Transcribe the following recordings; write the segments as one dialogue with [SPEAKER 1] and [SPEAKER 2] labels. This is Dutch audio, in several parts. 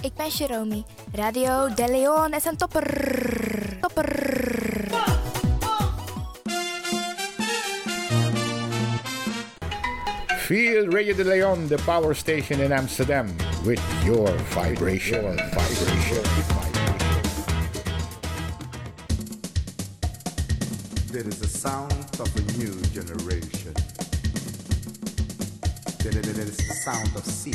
[SPEAKER 1] Ik ben Jerome. Radio De Leon is een topper. Topper.
[SPEAKER 2] Feel Radio de Leon, the power station in Amsterdam, with your vibration. vibration.
[SPEAKER 3] There is a sound of a new generation. There there- there is the sound of sea.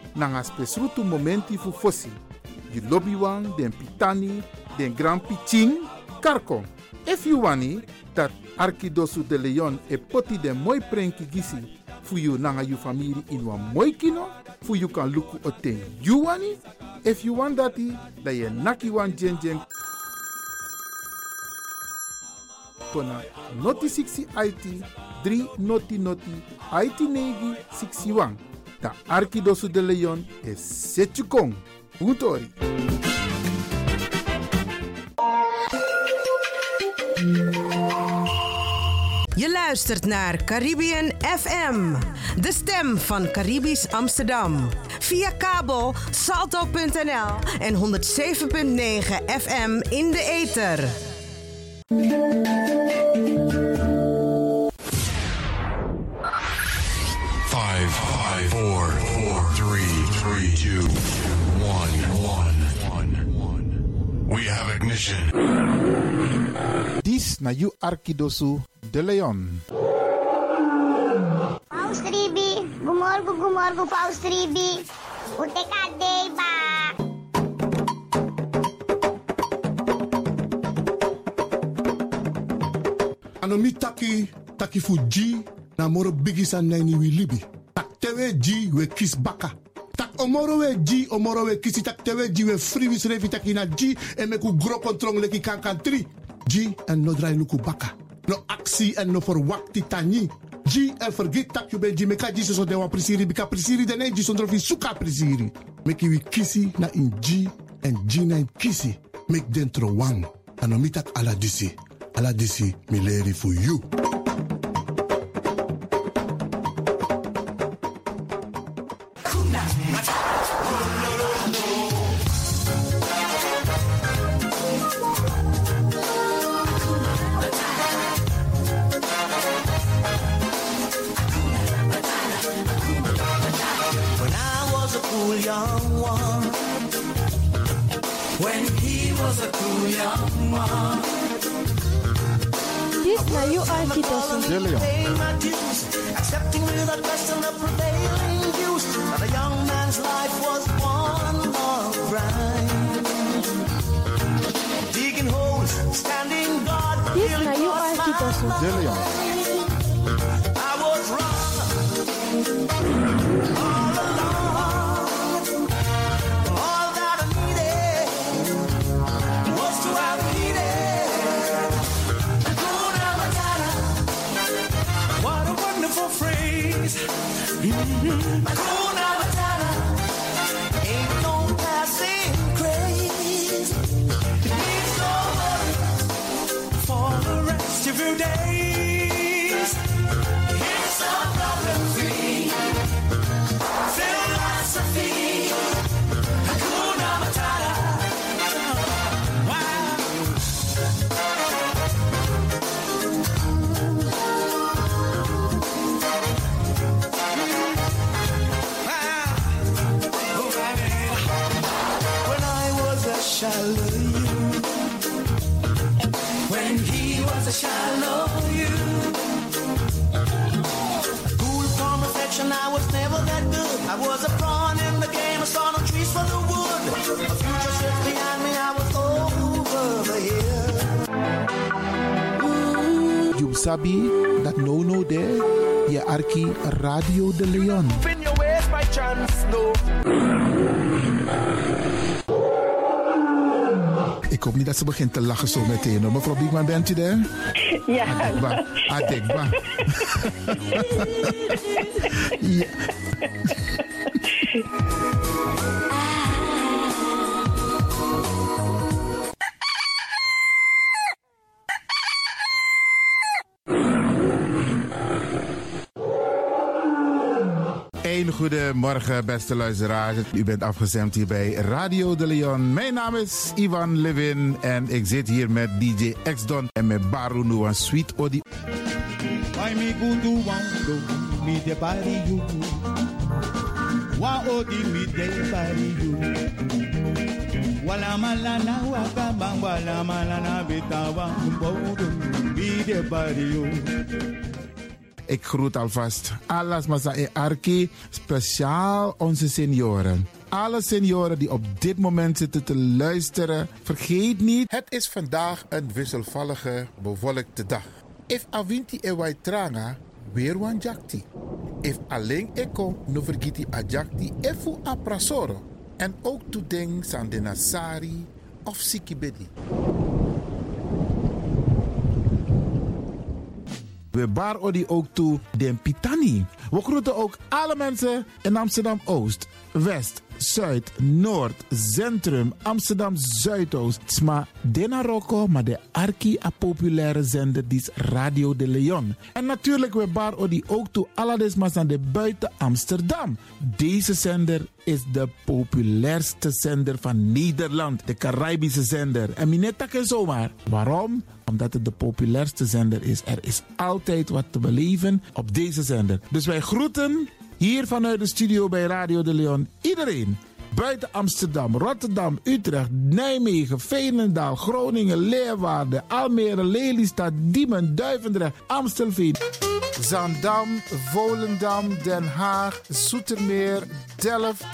[SPEAKER 4] nanga spesrutu momenti fu fosi. You lobby wan den pitani den grand piching karko. If you wani dat Arquidosu de Leon e poti den moi prenki gisi fu you nanga you famiri in wan moi kino fu you kan luku oten. You wani? If you want dati, da ye naki wan jen jen kona noti 60 IT 3 noti noti IT negi 61. Da Arquidosu de Leon e setu kong. Utori.
[SPEAKER 5] Je luistert naar Caribbean FM, de stem van Caribisch Amsterdam. Via kabel salto.nl en 107.9 FM in de ether.
[SPEAKER 6] Five, five, four, four, three, three, two, one, one, one. We have ignition.
[SPEAKER 4] Dis na you Arquidosu de Leon.
[SPEAKER 7] Paus 3B, gumorgo, gumorgo, Paus 3B. O Decadeiba.
[SPEAKER 8] Anomi taki, taki fu G, na moro bigisa nani wi libi. Tak tewe G we kis baka. Tak omoro we G, omoro we kisi, tak tewe G we free wis revi taki na G, en meku gro kontrong leki kankan tri. G en no drai luku baka. No aksi en no forwakti tani. G en vergit tak you ben G, meka G so dewa prisiri, bika prisiri dene G sondro fi suka prisiri. Meki wi kisi na in G, en G na in kisi. Mek dentro wang. Anomi tak ala disi. Ala disi mi leri fu you.
[SPEAKER 9] When I was a cool young one. When he was a cool young one.
[SPEAKER 10] Dit naar jouw Arquidosu.
[SPEAKER 4] De Leon.
[SPEAKER 9] Paying my dues, accepting without question the prevailing views. That a young man's life was one long grind. Digging holes, standing guard.
[SPEAKER 10] Dit
[SPEAKER 9] till it
[SPEAKER 10] naar jouw
[SPEAKER 9] was my
[SPEAKER 10] Arquidosu.
[SPEAKER 4] De Leon.
[SPEAKER 9] I was wrong all along. All that I needed was to have needed. Hakuna Matata. What a wonderful phrase. Mhm. Hakuna Matata. Ain't no passing craze. It means no worry for the rest of your days. It's a problem-free philosophy. Hakuna Matata. Wow. Wow. Oh, baby. When I was a shallow you, when he
[SPEAKER 3] was a shallow you. Cool from affection, I was never that good. I was a pawn in the game, I saw no trees for the wood. A future sits behind me, I was over the hill.
[SPEAKER 4] You sabi that no no there, je arki Radio de Leon.
[SPEAKER 3] Spin your ways by chance, no.
[SPEAKER 4] Ik hoop niet dat ze begint te lachen zo meteen. hoor. Mevrouw Biekman, bent u daar?
[SPEAKER 7] Ja.
[SPEAKER 4] Adekba. Adekba. ja. Een goedemorgen, beste luisteraars. U bent afgestemd hier bij Radio de Leon. Mijn naam is Ivan Levin en ik zit hier met DJ X-Don en met Baru Nuan Sweet Odi.
[SPEAKER 11] Why me go do one go me the body you Wa odi me the body you Wala malana waka bang wala malana bitawa mbodo me the body you
[SPEAKER 4] Ik groet alvast alles masa e arki, speciaal onze senioren. Alle senioren die op dit moment zitten te luisteren, vergeet niet.
[SPEAKER 12] Het is vandaag een wisselvallige, bewolkte dag. If awinti e wai tranga, weer wan jakti. If alleen ik kom, no vergiti a jakti e fu a prasoro. En ook to ding san de nasari of sikibedi.
[SPEAKER 4] We bar odi ook toe den Pitani. We groeten ook alle mensen in Amsterdam Oost, West, Zuid, Noord, Centrum, Amsterdam Zuidoost. Sma Denaroko, maar de arki a populaire zender die is Radio de Leon. En natuurlijk we bar odi ook toe alles maar aan de buiten Amsterdam. Deze zender is de populairste zender van Nederland, de Caribische zender. En minetta ken zomaar. Waarom? Omdat het de populairste zender is. Er is altijd wat te beleven op deze zender. Dus wij groeten hier vanuit de studio bij Radio de Leon iedereen. Buiten Amsterdam, Rotterdam, Utrecht, Nijmegen, Veenendaal, Groningen, Leeuwarden, Almere, Lelystad, Diemen, Duivendrecht, Amstelveen.
[SPEAKER 12] Zandam, Volendam, Den Haag, Zoetermeer, Delft,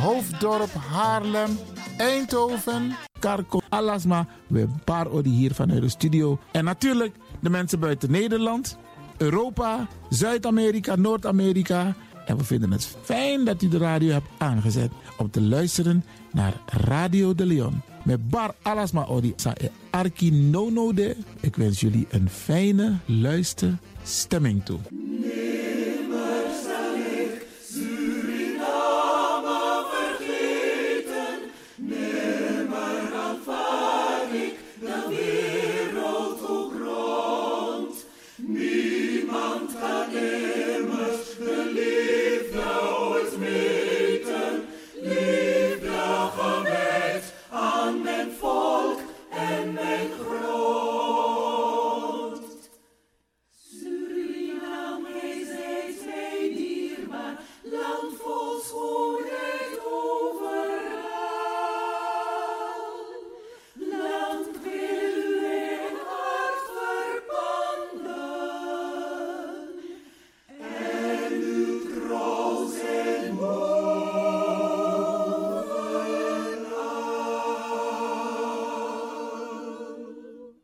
[SPEAKER 12] Hoofddorp, Haarlem, Eindhoven.
[SPEAKER 4] Karko, Alasma, we paar odi hier vanuit de studio. En natuurlijk de mensen buiten Nederland, Europa, Zuid-Amerika, Noord-Amerika. En we vinden het fijn dat u de radio hebt aangezet om te luisteren naar Radio de Leon. Met Bar Alasma Odi, Sa e Arki Nono de. Ik wens jullie een fijne luisterstemming toe.
[SPEAKER 3] Aan mijn volk en mijn grond. Suriname zijt mij dierbaar, land vol schoonheid overal. Land wil u in hart verpanden, en uw trots en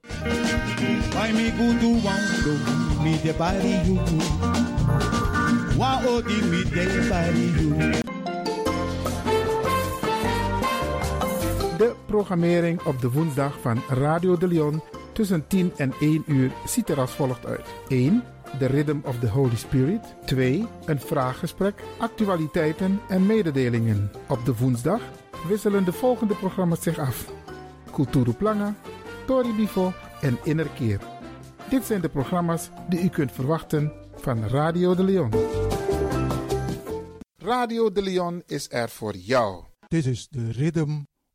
[SPEAKER 11] Why me go do one go me the body you Wa odi me the body you
[SPEAKER 4] De programmering op de woensdag van Radio de Leon tussen 10 en 1 uur ziet er als volgt uit. 1. De Rhythm of the Holy Spirit. 2. Een vraaggesprek, actualiteiten en mededelingen. Op de woensdag wisselen de volgende programma's zich af. Kulturu Planga, Tori Bifo en Innerkeer. Dit zijn de programma's die u kunt verwachten van Radio de Leon.
[SPEAKER 12] Radio de Leon is er voor jou.
[SPEAKER 2] Dit is de Rhythm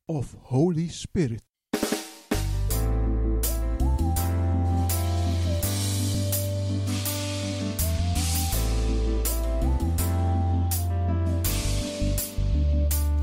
[SPEAKER 2] of Holy Spirit.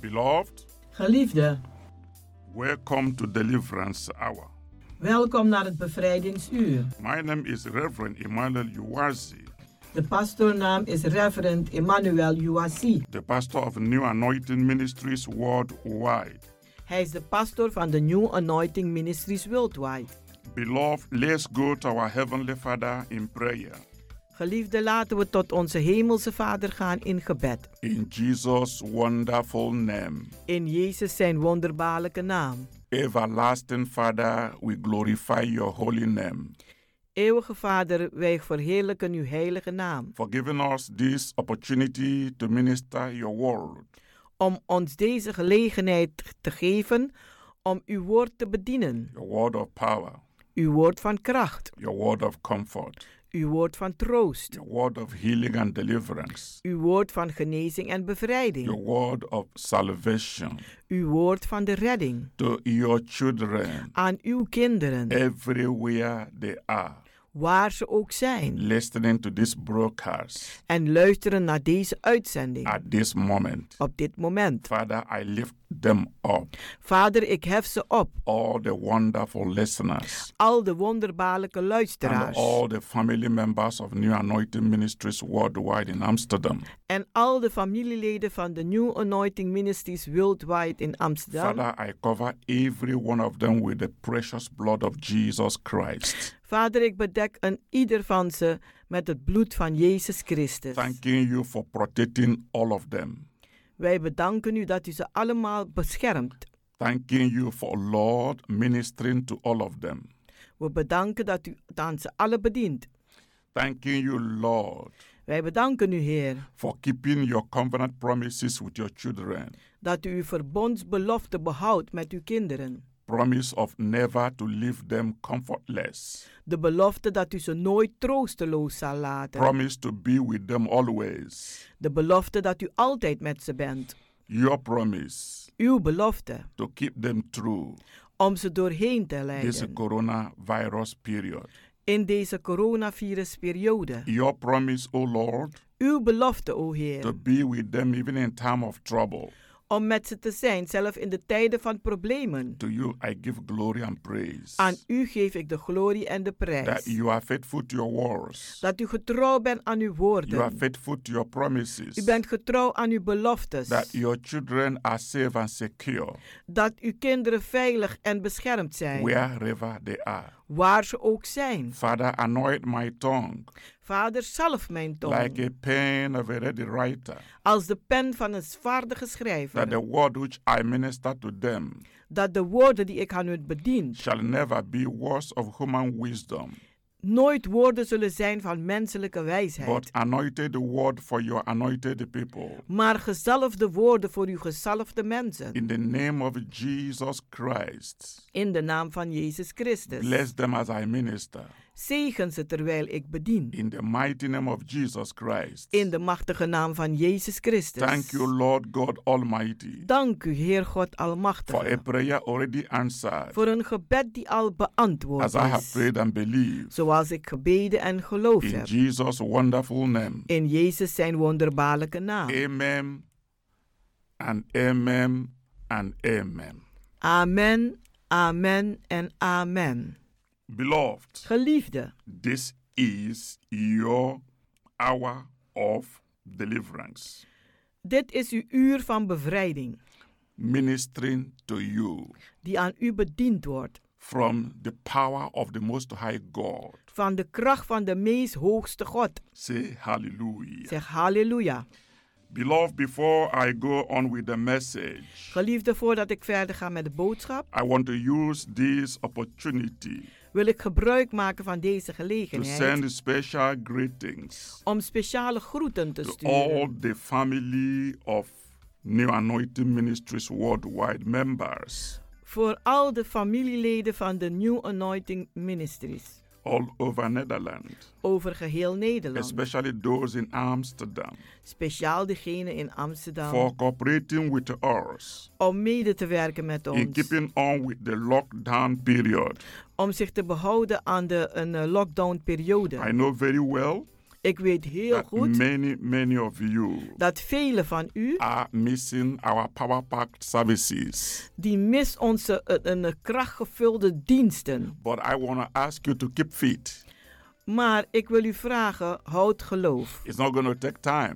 [SPEAKER 7] Beloved,
[SPEAKER 9] Geliefde,
[SPEAKER 7] welcome to Deliverance Hour.
[SPEAKER 9] welkom naar het bevrijdingsuur.
[SPEAKER 7] My name is Reverend Emmanuel Uwazi,
[SPEAKER 9] De pastoornaam is Reverend Emmanuel Uwasi.
[SPEAKER 7] the pastor of New Anointing Ministries worldwide.
[SPEAKER 9] Hij is de pastor van de New Anointing Ministries Worldwide.
[SPEAKER 7] Beloved, let's go to our Heavenly Father in prayer.
[SPEAKER 9] Geliefde, laten we tot onze hemelse Vader gaan in gebed.
[SPEAKER 7] In Jesus' wonderful name,
[SPEAKER 9] In Jezus zijn wonderbaarlijke naam.
[SPEAKER 7] everlasting Father, we glorify your holy name
[SPEAKER 9] Eeuwige Vader, wij verheerlijken uw heilige naam.
[SPEAKER 7] for giving us this opportunity to minister your word.
[SPEAKER 9] Om ons deze gelegenheid te geven om uw woord te bedienen.
[SPEAKER 7] Your word of power,
[SPEAKER 9] Uw woord van kracht.
[SPEAKER 7] your word of comfort,
[SPEAKER 9] Uw woord van troost.
[SPEAKER 7] your word of healing and deliverance,
[SPEAKER 9] Uw woord van genezing en bevrijding.
[SPEAKER 7] your word of salvation
[SPEAKER 9] Uw woord van de redding.
[SPEAKER 7] to your children
[SPEAKER 9] Aan uw kinderen,
[SPEAKER 7] everywhere they are
[SPEAKER 9] waar ze ook zijn.
[SPEAKER 7] listening to this broadcast
[SPEAKER 9] En luisteren naar deze uitzending
[SPEAKER 7] at this moment.
[SPEAKER 9] op dit moment.
[SPEAKER 7] Father, I lift them up,
[SPEAKER 9] Vader, ik hef ze op.
[SPEAKER 7] all the wonderful listeners
[SPEAKER 9] Al de wonderbaarlijke
[SPEAKER 7] and
[SPEAKER 9] luisteraars.
[SPEAKER 7] all the family members of New Anointing Ministries worldwide in Amsterdam.
[SPEAKER 9] En al de familieleden van de New Anointing Ministries Worldwide in Amsterdam.
[SPEAKER 7] Father, I cover every one of them with the precious blood of Jesus Christ.
[SPEAKER 9] Vader, ik bedek een ieder van ze met het bloed van Jezus Christus.
[SPEAKER 7] Thanking you for protecting all of them.
[SPEAKER 9] Wij bedanken u dat u ze allemaal beschermt.
[SPEAKER 7] Thanking you for Lord ministering to all of them.
[SPEAKER 9] We bedanken dat u het aan ze alle bedient.
[SPEAKER 7] Thanking you, Lord,
[SPEAKER 9] Wij bedanken u, Heer,
[SPEAKER 7] for keeping your covenant promises with your children.
[SPEAKER 9] dat u uw verbondsbelofte behoudt met uw kinderen.
[SPEAKER 7] Promise of never to leave them comfortless.
[SPEAKER 9] De belofte dat u ze nooit troosteloos zal laten.
[SPEAKER 7] Promise to be with them always.
[SPEAKER 9] De belofte dat u altijd met ze bent.
[SPEAKER 7] Your promise
[SPEAKER 9] Uw belofte
[SPEAKER 7] to keep them through
[SPEAKER 9] om ze doorheen te
[SPEAKER 7] this
[SPEAKER 9] leiden
[SPEAKER 7] coronavirus period.
[SPEAKER 9] in deze coronavirusperiode.
[SPEAKER 7] Your promise, O Lord,
[SPEAKER 9] Uw belofte, o Heer,
[SPEAKER 7] to be with them even in time of trouble.
[SPEAKER 9] om met ze te zijn, zelf in de tijden van problemen.
[SPEAKER 7] To you I give glory and praise.
[SPEAKER 9] Aan u geef ik de glorie en de
[SPEAKER 7] That
[SPEAKER 9] prijs.
[SPEAKER 7] you are faithful to your words.
[SPEAKER 9] Dat u getrouw bent aan uw
[SPEAKER 7] You are
[SPEAKER 9] woorden.
[SPEAKER 7] faithful to your promises.
[SPEAKER 9] U bent getrouw aan uw beloftes.
[SPEAKER 7] That your children are safe and secure
[SPEAKER 9] Dat uw kinderen veilig en beschermd zijn.
[SPEAKER 7] wherever they are.
[SPEAKER 9] Waar ze ook zijn.
[SPEAKER 7] Father, anoint my tongue
[SPEAKER 9] Vader, zalf mijn
[SPEAKER 7] like
[SPEAKER 9] tong.
[SPEAKER 7] a pen of a ready writer.
[SPEAKER 9] Als de pen van een vaardige
[SPEAKER 7] That the
[SPEAKER 9] schrijver.
[SPEAKER 7] word which I minister to them
[SPEAKER 9] Dat de woorden die ik aan u bedien
[SPEAKER 7] shall never be words of human wisdom,
[SPEAKER 9] nooit woorden zullen zijn van menselijke wijsheid.
[SPEAKER 7] but anointed word for your anointed people.
[SPEAKER 9] Maar gezalfde woorden voor uw gezalfde mensen.
[SPEAKER 7] In the name of Jesus Christ,
[SPEAKER 9] In de naam van Jezus Christus.
[SPEAKER 7] bless them as I minister.
[SPEAKER 9] Zegen ze terwijl ik bedien.
[SPEAKER 7] In the mighty name of Jesus Christ.
[SPEAKER 9] In de machtige naam van Jezus Christus.
[SPEAKER 7] Thank you, Lord God Almighty,
[SPEAKER 9] Dank u, Heer God
[SPEAKER 7] for a
[SPEAKER 9] Almachtige.
[SPEAKER 7] prayer already answered.
[SPEAKER 9] Voor een gebed die al beantwoord
[SPEAKER 7] As I have
[SPEAKER 9] is.
[SPEAKER 7] prayed and believed,
[SPEAKER 9] Zoals ik gebeden en geloofd
[SPEAKER 7] in
[SPEAKER 9] heb.
[SPEAKER 7] Jesus' wonderful name.
[SPEAKER 9] In Jezus zijn wonderbaarlijke naam.
[SPEAKER 7] Amen and amen and amen.
[SPEAKER 9] Amen, amen en amen.
[SPEAKER 7] Beloved,
[SPEAKER 9] Geliefde,
[SPEAKER 7] this is your hour of deliverance,
[SPEAKER 9] dit is uw uur van bevrijding
[SPEAKER 7] ministering to you
[SPEAKER 9] die aan u bediend wordt
[SPEAKER 7] from the power of the Most High God.
[SPEAKER 9] van de kracht van de meest hoogste God.
[SPEAKER 7] Say hallelujah.
[SPEAKER 9] Zeg halleluja.
[SPEAKER 7] Beloved, before I go on with the message,
[SPEAKER 9] Geliefde, voordat ik verder ga met de boodschap,
[SPEAKER 7] I want to use this opportunity
[SPEAKER 9] wil ik gebruik maken van deze
[SPEAKER 7] to
[SPEAKER 9] gelegenheid
[SPEAKER 7] send special greetings
[SPEAKER 9] om speciale groeten te
[SPEAKER 7] to all
[SPEAKER 9] sturen
[SPEAKER 7] the family of New Anointing Ministries Worldwide members
[SPEAKER 9] Voor al de familieleden van de New Anointing Ministries
[SPEAKER 7] all over Netherlands,
[SPEAKER 9] over geheel Nederland.
[SPEAKER 7] especially those in Amsterdam,
[SPEAKER 9] Speciaal degene in Amsterdam.
[SPEAKER 7] for cooperating with us
[SPEAKER 9] om mede te werken met
[SPEAKER 7] in
[SPEAKER 9] ons.
[SPEAKER 7] keeping on with the lockdown period.
[SPEAKER 9] Om zich te behouden aan de een eh, lockdown-periode.
[SPEAKER 7] I know very well
[SPEAKER 9] Ik weet heel
[SPEAKER 7] that
[SPEAKER 9] goed
[SPEAKER 7] many, many of you
[SPEAKER 9] dat velen van u
[SPEAKER 7] are missing our power packed services.
[SPEAKER 9] die mis onze eh, een eh, krachtgevulde diensten.
[SPEAKER 7] But I want to ask you to keep fit.
[SPEAKER 9] Maar ik wil u vragen, houd geloof.
[SPEAKER 7] It's not going to take time.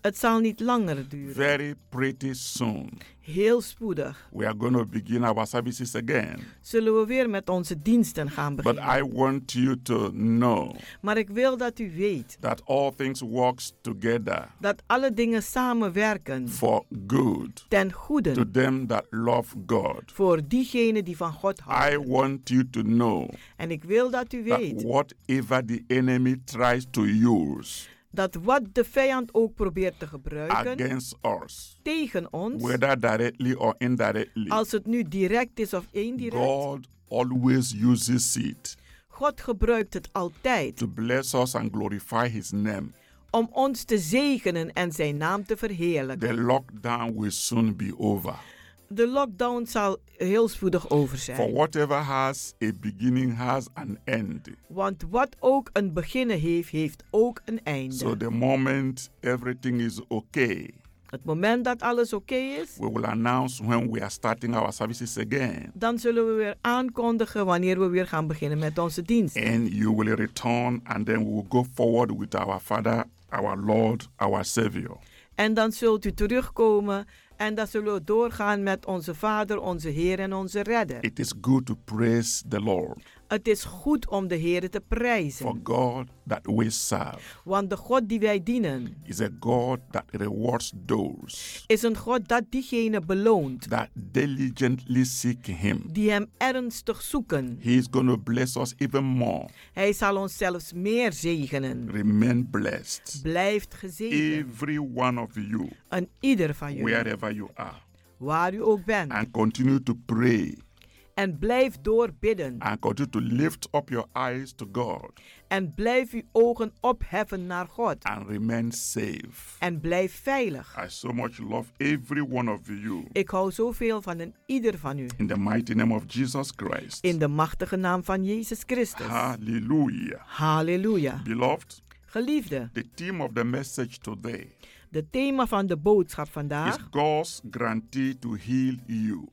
[SPEAKER 9] Het zal niet langer duren.
[SPEAKER 7] Very pretty soon,
[SPEAKER 9] Heel spoedig
[SPEAKER 7] we are going to begin our services again.
[SPEAKER 9] zullen we weer met onze diensten gaan
[SPEAKER 7] But
[SPEAKER 9] beginnen.
[SPEAKER 7] I want you to know
[SPEAKER 9] Maar ik wil dat u weet
[SPEAKER 7] that all things works together
[SPEAKER 9] dat alle dingen samenwerken
[SPEAKER 7] for good
[SPEAKER 9] ten
[SPEAKER 7] to
[SPEAKER 9] goede
[SPEAKER 7] them that love God.
[SPEAKER 9] voor diegenen die van God
[SPEAKER 7] I
[SPEAKER 9] houden.
[SPEAKER 7] want you to know
[SPEAKER 9] En ik wil dat u
[SPEAKER 7] that
[SPEAKER 9] weet
[SPEAKER 7] whatever the enemy tries to use
[SPEAKER 9] dat wat de vijand ook probeert te gebruiken
[SPEAKER 7] against us,
[SPEAKER 9] tegen ons,
[SPEAKER 7] whether directly or indirectly,
[SPEAKER 9] als het nu direct is of indirect,
[SPEAKER 7] God always uses it
[SPEAKER 9] God gebruikt het altijd
[SPEAKER 7] to bless us and glorify his name.
[SPEAKER 9] om ons te zegenen en zijn naam te
[SPEAKER 7] The
[SPEAKER 9] verheerlijken.
[SPEAKER 7] lockdown will soon be over.
[SPEAKER 9] De lockdown zal heel spoedig over
[SPEAKER 7] For
[SPEAKER 9] zijn.
[SPEAKER 7] whatever has a beginning has an end.
[SPEAKER 9] Want wat ook een beginnen heeft, heeft ook een
[SPEAKER 7] So
[SPEAKER 9] einde.
[SPEAKER 7] the moment everything is okay,
[SPEAKER 9] Het moment dat alles oké is,
[SPEAKER 7] we will announce when we are starting our services again.
[SPEAKER 9] dan zullen we weer aankondigen wanneer we weer gaan beginnen met onze dienst.
[SPEAKER 7] And you will return and then we will go forward with our Father, our Lord, our Savior.
[SPEAKER 9] En dan zult u terugkomen en dan zullen we doorgaan met onze Vader, onze Heer en onze Redder.
[SPEAKER 7] It is good to praise the Lord
[SPEAKER 9] Het is goed om de Heer te
[SPEAKER 7] for
[SPEAKER 9] prijzen,
[SPEAKER 7] God that we serve
[SPEAKER 9] want de God die wij dienen
[SPEAKER 7] is a God that rewards those
[SPEAKER 9] is een God dat diegene beloont
[SPEAKER 7] that diligently seek Him.
[SPEAKER 9] die hem ernstig zoeken.
[SPEAKER 7] He is going to bless us even more.
[SPEAKER 9] Hij zal ons zelfs meer zegenen.
[SPEAKER 7] Remain blessed.
[SPEAKER 9] Blijft gezegend,
[SPEAKER 7] Every one of you,
[SPEAKER 9] een ieder van jullie,
[SPEAKER 7] wherever you are,
[SPEAKER 9] waar u ook bent.
[SPEAKER 7] and continue to pray
[SPEAKER 9] En blijf doorbidden.
[SPEAKER 7] and continue to lift up your eyes to God
[SPEAKER 9] En blijf uw ogen opheffen naar God.
[SPEAKER 7] and remain safe.
[SPEAKER 9] En blijf veilig.
[SPEAKER 7] I so much love every one of you
[SPEAKER 9] Ik hou zoveel van een ieder van u.
[SPEAKER 7] in the mighty name of Jesus Christ.
[SPEAKER 9] In de machtige naam van Jezus Christus.
[SPEAKER 7] Hallelujah.
[SPEAKER 9] Halleluja.
[SPEAKER 7] Beloved,
[SPEAKER 9] Geliefde,
[SPEAKER 7] the theme of the message today
[SPEAKER 9] de thema van de boodschap
[SPEAKER 7] is
[SPEAKER 9] vandaag
[SPEAKER 7] God's guarantee to heal you,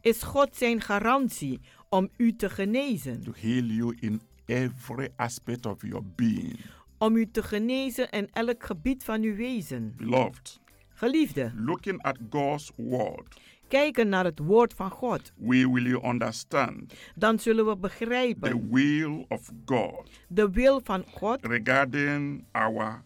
[SPEAKER 9] is God zijn garantie om u te genezen.
[SPEAKER 7] to heal you in every aspect of your being.
[SPEAKER 9] Om u te genezen in elk gebied van uw wezen.
[SPEAKER 7] Beloved,
[SPEAKER 9] Geliefde,
[SPEAKER 7] looking at God's word,
[SPEAKER 9] kijken naar het woord van God.
[SPEAKER 7] we will understand
[SPEAKER 9] Dan zullen we
[SPEAKER 7] the
[SPEAKER 9] begrijpen
[SPEAKER 7] will of God
[SPEAKER 9] de wil van God
[SPEAKER 7] regarding our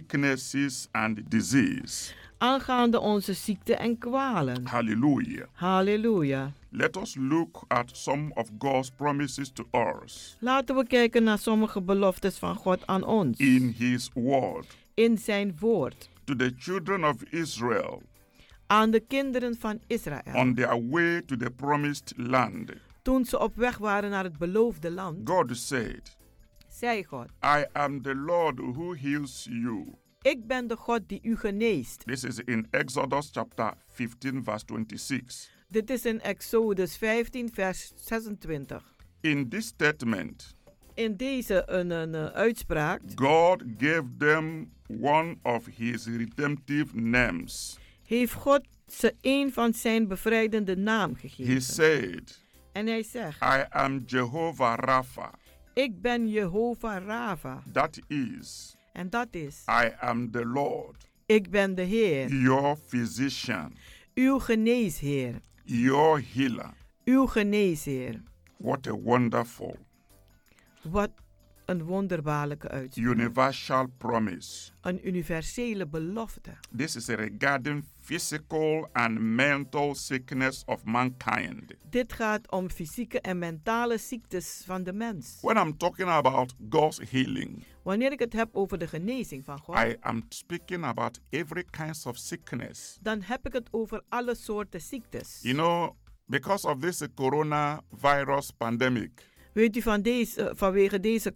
[SPEAKER 7] sicknesses and disease.
[SPEAKER 9] aangaande onze ziekte en kwalen.
[SPEAKER 7] Hallelujah.
[SPEAKER 9] Halleluja.
[SPEAKER 7] Let us look at some of God's promises to us
[SPEAKER 9] Laten we kijken naar sommige beloftes van God aan ons.
[SPEAKER 7] in His Word.
[SPEAKER 9] In zijn woord.
[SPEAKER 7] To the children of Israel
[SPEAKER 9] Aan de kinderen van Israël.
[SPEAKER 7] on their way to the promised land,
[SPEAKER 9] Toen ze op weg waren naar het beloofde land,
[SPEAKER 7] God said,
[SPEAKER 9] zei God:
[SPEAKER 7] I am the Lord who heals you.
[SPEAKER 9] Ik ben de God die u geneest.
[SPEAKER 7] This is in Exodus chapter 15, verse 26.
[SPEAKER 9] Dit is in Exodus 15, vers 26.
[SPEAKER 7] In this statement,
[SPEAKER 9] In deze een, een, eh, uitspraak
[SPEAKER 7] God gave them one of his redemptive names.
[SPEAKER 9] heeft God ze een van zijn bevrijdende naam
[SPEAKER 7] He
[SPEAKER 9] gegeven.
[SPEAKER 7] said,
[SPEAKER 9] En hij zegt:
[SPEAKER 7] I am Jehovah Rapha.
[SPEAKER 9] Ik ben Jehovah Rava.
[SPEAKER 7] That is,
[SPEAKER 9] En dat is:
[SPEAKER 7] I am the Lord,
[SPEAKER 9] Ik ben de Heer,
[SPEAKER 7] your physician,
[SPEAKER 9] uw geneesheer.
[SPEAKER 7] your healer.
[SPEAKER 9] Uw geneesheer.
[SPEAKER 7] What a wonderful
[SPEAKER 9] Wat een wonderbaarlijke uitspraak.
[SPEAKER 7] universal promise.
[SPEAKER 9] Een universele belofte.
[SPEAKER 7] This is regarding physical and mental sickness of mankind.
[SPEAKER 9] Dit gaat om fysieke en mentale ziektes van de mens.
[SPEAKER 7] When I'm talking about God's healing,
[SPEAKER 9] Wanneer ik het heb over de genezing van God,
[SPEAKER 7] I am speaking about every kinds of sickness.
[SPEAKER 9] dan heb ik het over alle soorten ziektes.
[SPEAKER 7] You know, because of this coronavirus pandemic,
[SPEAKER 9] Weet u van deze, eh, vanwege deze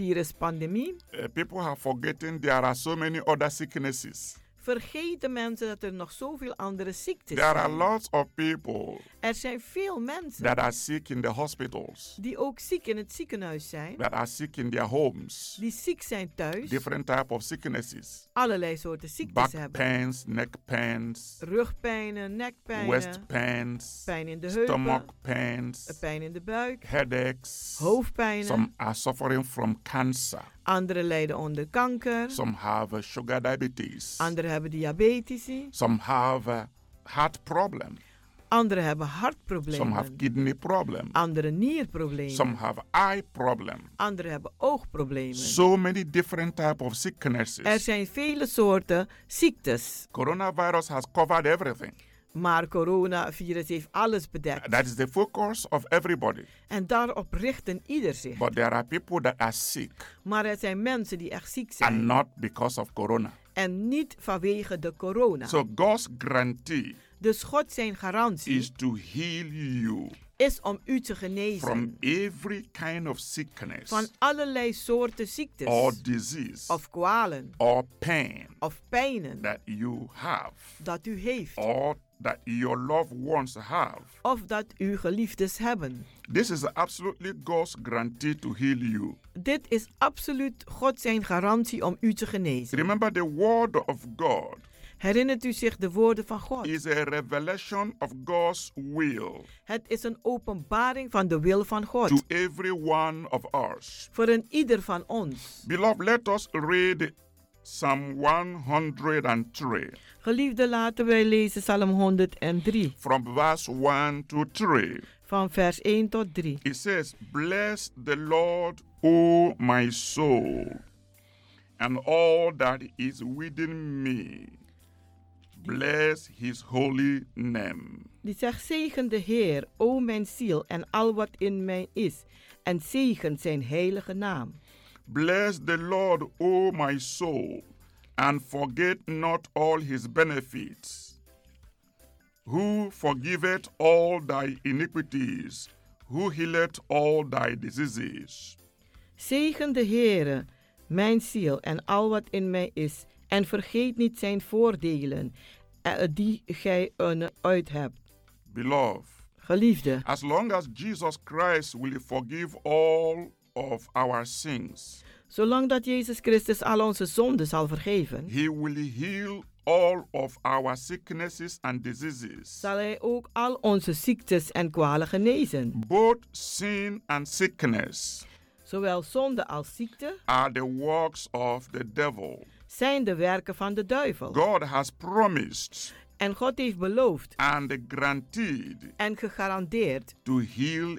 [SPEAKER 9] coronavirus-pandemie?
[SPEAKER 7] uh, people have forgotten there are so many other sicknesses.
[SPEAKER 9] Vergeten mensen dat er nog zoveel andere ziektes
[SPEAKER 7] There are
[SPEAKER 9] zijn.
[SPEAKER 7] lots of people
[SPEAKER 9] Er zijn veel mensen
[SPEAKER 7] that are sick in the hospitals,
[SPEAKER 9] die ook ziek in het ziekenhuis zijn,
[SPEAKER 7] that are sick in their homes,
[SPEAKER 9] die ziek zijn thuis,
[SPEAKER 7] different type of sicknesses,
[SPEAKER 9] allerlei soorten ziektes
[SPEAKER 7] back
[SPEAKER 9] hebben.
[SPEAKER 7] pains, neck pains,
[SPEAKER 9] Rugpijnen, nekpijnen,
[SPEAKER 7] waist pains,
[SPEAKER 9] pijn in de
[SPEAKER 7] stomach
[SPEAKER 9] heupen,
[SPEAKER 7] pains,
[SPEAKER 9] eh, pijn in de buik,
[SPEAKER 7] headaches.
[SPEAKER 9] hoofdpijnen.
[SPEAKER 7] Some are suffering from cancer.
[SPEAKER 9] Anderen lijden onder kanker,
[SPEAKER 7] Some have uh, sugar diabetes.
[SPEAKER 9] anderen hebben diabetici,
[SPEAKER 7] Some have uh, heart problem.
[SPEAKER 9] anderen hebben
[SPEAKER 7] Some have
[SPEAKER 9] hartproblemen,
[SPEAKER 7] kidney problem.
[SPEAKER 9] anderen nierproblemen,
[SPEAKER 7] Some have eye problem.
[SPEAKER 9] anderen hebben oogproblemen.
[SPEAKER 7] So many different type of sicknesses.
[SPEAKER 9] Er zijn vele soorten ziektes,
[SPEAKER 7] Coronavirus has covered everything.
[SPEAKER 9] maar coronavirus heeft alles bedekt.
[SPEAKER 7] That is the focus of everybody.
[SPEAKER 9] En daarop richten ieder zich.
[SPEAKER 7] But there are people that are sick
[SPEAKER 9] Maar er zijn mensen die echt ziek zijn.
[SPEAKER 7] and not because of corona.
[SPEAKER 9] En niet vanwege de corona.
[SPEAKER 7] So God's guarantee
[SPEAKER 9] dus God zijn garantie
[SPEAKER 7] is to heal you
[SPEAKER 9] is om u te genezen
[SPEAKER 7] from every kind of sickness
[SPEAKER 9] van allerlei soorten ziektes
[SPEAKER 7] or disease
[SPEAKER 9] of kwalen
[SPEAKER 7] or pain
[SPEAKER 9] of pijnen
[SPEAKER 7] that you have
[SPEAKER 9] dat u heeft
[SPEAKER 7] or that your loved ones have.
[SPEAKER 9] of dat uw geliefdes hebben.
[SPEAKER 7] This is absolutely God's guarantee to heal you.
[SPEAKER 9] Dit is absoluut God zijn garantie om u te genezen.
[SPEAKER 7] Remember, the word of God
[SPEAKER 9] Herinnert u zich de woorden van God?
[SPEAKER 7] is a revelation of God's will
[SPEAKER 9] Het is een openbaring van de wil van God
[SPEAKER 7] to every one of us.
[SPEAKER 9] voor een ieder van ons.
[SPEAKER 7] Beloved, let us read Psalm 103
[SPEAKER 9] Geliefde, laten wij lezen Psalm 103
[SPEAKER 7] from verse 1 to 3.
[SPEAKER 9] van vers 1 tot 3.
[SPEAKER 7] It says, Bless the Lord, O my soul, and all that is within me. Bless his holy name.
[SPEAKER 9] Die zegt, zegen de Heer, o mijn ziel en al wat in mij is, en zegen zijn heilige naam.
[SPEAKER 7] Bless the Lord, O my soul, and forget not all his benefits. Who forgiveth all thy iniquities, who healeth all thy diseases.
[SPEAKER 9] Zegen de Heere, mijn ziel en al wat in mij is, en vergeet niet zijn voordelen, eh, die gij eh, uit hebt.
[SPEAKER 7] Beloved,
[SPEAKER 9] Geliefde,
[SPEAKER 7] as long as Jesus Christ will forgive all of our sins,
[SPEAKER 9] zolang dat Jezus Christus al onze zonden zal vergeven,
[SPEAKER 7] he will heal all of our sicknesses and diseases,
[SPEAKER 9] zal hij ook al onze ziektes en kwalen genezen.
[SPEAKER 7] both sin and sickness.
[SPEAKER 9] Zowel zonde als ziekte
[SPEAKER 7] are the works of the devil.
[SPEAKER 9] zijn de werken van de duivel.
[SPEAKER 7] God has promised
[SPEAKER 9] En God heeft beloofd
[SPEAKER 7] and guaranteed
[SPEAKER 9] en gegarandeerd
[SPEAKER 7] to heal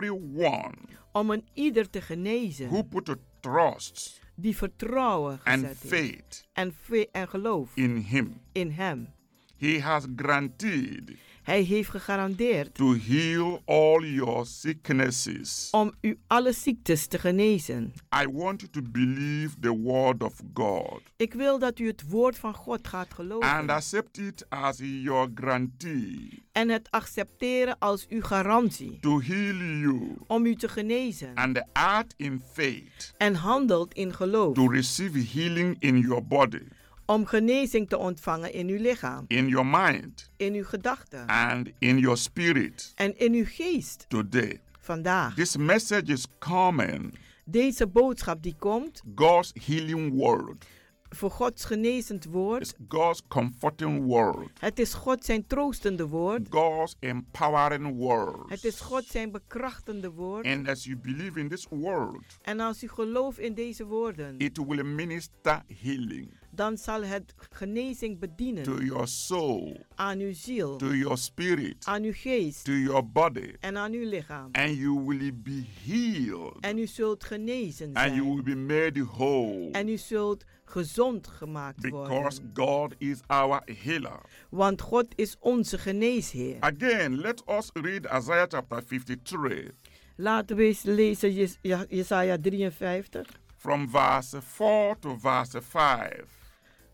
[SPEAKER 7] everyone
[SPEAKER 9] om een ieder te
[SPEAKER 7] who
[SPEAKER 9] genezen
[SPEAKER 7] put a trust
[SPEAKER 9] die vertrouwen gezet
[SPEAKER 7] and
[SPEAKER 9] heeft
[SPEAKER 7] faith
[SPEAKER 9] en, ve- en geloof
[SPEAKER 7] in him.
[SPEAKER 9] in hem.
[SPEAKER 7] He has guaranteed
[SPEAKER 9] Hij heeft gegarandeerd
[SPEAKER 7] to heal all your sicknesses.
[SPEAKER 9] om u alle ziektes te genezen.
[SPEAKER 7] I want you to believe the word of God
[SPEAKER 9] Ik wil dat u het woord van God gaat
[SPEAKER 7] and
[SPEAKER 9] geloven
[SPEAKER 7] accept it as your guarantee
[SPEAKER 9] en het accepteren als uw garantie
[SPEAKER 7] to heal you
[SPEAKER 9] om u te genezen.
[SPEAKER 7] and act in faith
[SPEAKER 9] En handelt in geloof
[SPEAKER 7] to receive healing in your body.
[SPEAKER 9] om genezing te ontvangen in uw lichaam,
[SPEAKER 7] in your mind
[SPEAKER 9] in uw gedachten
[SPEAKER 7] and in your spirit
[SPEAKER 9] en in uw geest
[SPEAKER 7] today.
[SPEAKER 9] vandaag.
[SPEAKER 7] This message is common.
[SPEAKER 9] Deze boodschap die komt
[SPEAKER 7] God's healing word,
[SPEAKER 9] voor Gods genezend woord.
[SPEAKER 7] God's comforting word,
[SPEAKER 9] Het is God zijn troostende woord.
[SPEAKER 7] God's empowering word.
[SPEAKER 9] Het is God zijn bekrachtende woord.
[SPEAKER 7] And as you believe in this word,
[SPEAKER 9] En als u gelooft in deze woorden,
[SPEAKER 7] it will minister healing.
[SPEAKER 9] dan zal het genezing
[SPEAKER 7] to
[SPEAKER 9] bedienen
[SPEAKER 7] your soul,
[SPEAKER 9] aan uw ziel,
[SPEAKER 7] to your spirit,
[SPEAKER 9] aan uw geest
[SPEAKER 7] to your body,
[SPEAKER 9] en aan uw lichaam.
[SPEAKER 7] and you will be healed,
[SPEAKER 9] En u zult genezen
[SPEAKER 7] and you
[SPEAKER 9] zijn.
[SPEAKER 7] will be made whole,
[SPEAKER 9] En u zult gezond gemaakt
[SPEAKER 7] because
[SPEAKER 9] worden.
[SPEAKER 7] God is our healer.
[SPEAKER 9] Want God is onze geneesheer.
[SPEAKER 7] Again, let us read Isaiah chapter 53
[SPEAKER 9] Laten we eens lezen Jes- Ja- Jesaja 53,
[SPEAKER 7] from verse 4 to verse 5.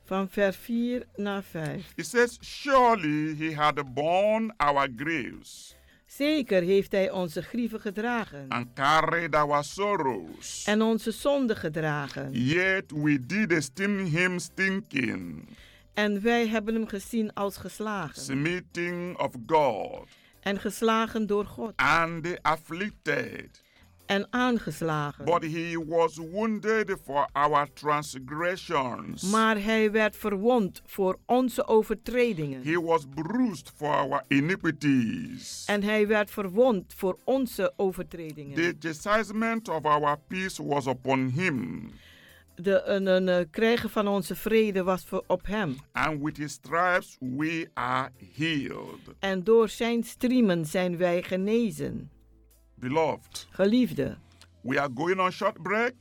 [SPEAKER 9] van vers 4 naar 5.
[SPEAKER 7] It says, Surely he had borne our griefs
[SPEAKER 9] Zeker heeft hij onze grieven gedragen
[SPEAKER 7] and carried our sorrows.
[SPEAKER 9] en onze zonden gedragen.
[SPEAKER 7] Yet we did esteem him stinking,
[SPEAKER 9] En wij hebben hem gezien als geslagen
[SPEAKER 7] smiting of God,
[SPEAKER 9] en geslagen door God
[SPEAKER 7] and afflicted.
[SPEAKER 9] en aangeslagen.
[SPEAKER 7] But he was wounded for our transgressions.
[SPEAKER 9] Maar hij werd verwond voor onze overtredingen
[SPEAKER 7] He was bruised for our iniquities.
[SPEAKER 9] en hij werd verwond voor onze overtredingen.
[SPEAKER 7] The chastisement of our peace was upon him,
[SPEAKER 9] De een, een, eh, krijgen van onze vrede was voor, op hem.
[SPEAKER 7] and with his stripes we are healed.
[SPEAKER 9] En door zijn striemen zijn wij genezen.
[SPEAKER 7] Beloved,
[SPEAKER 9] Geliefde,
[SPEAKER 7] we are going on short break.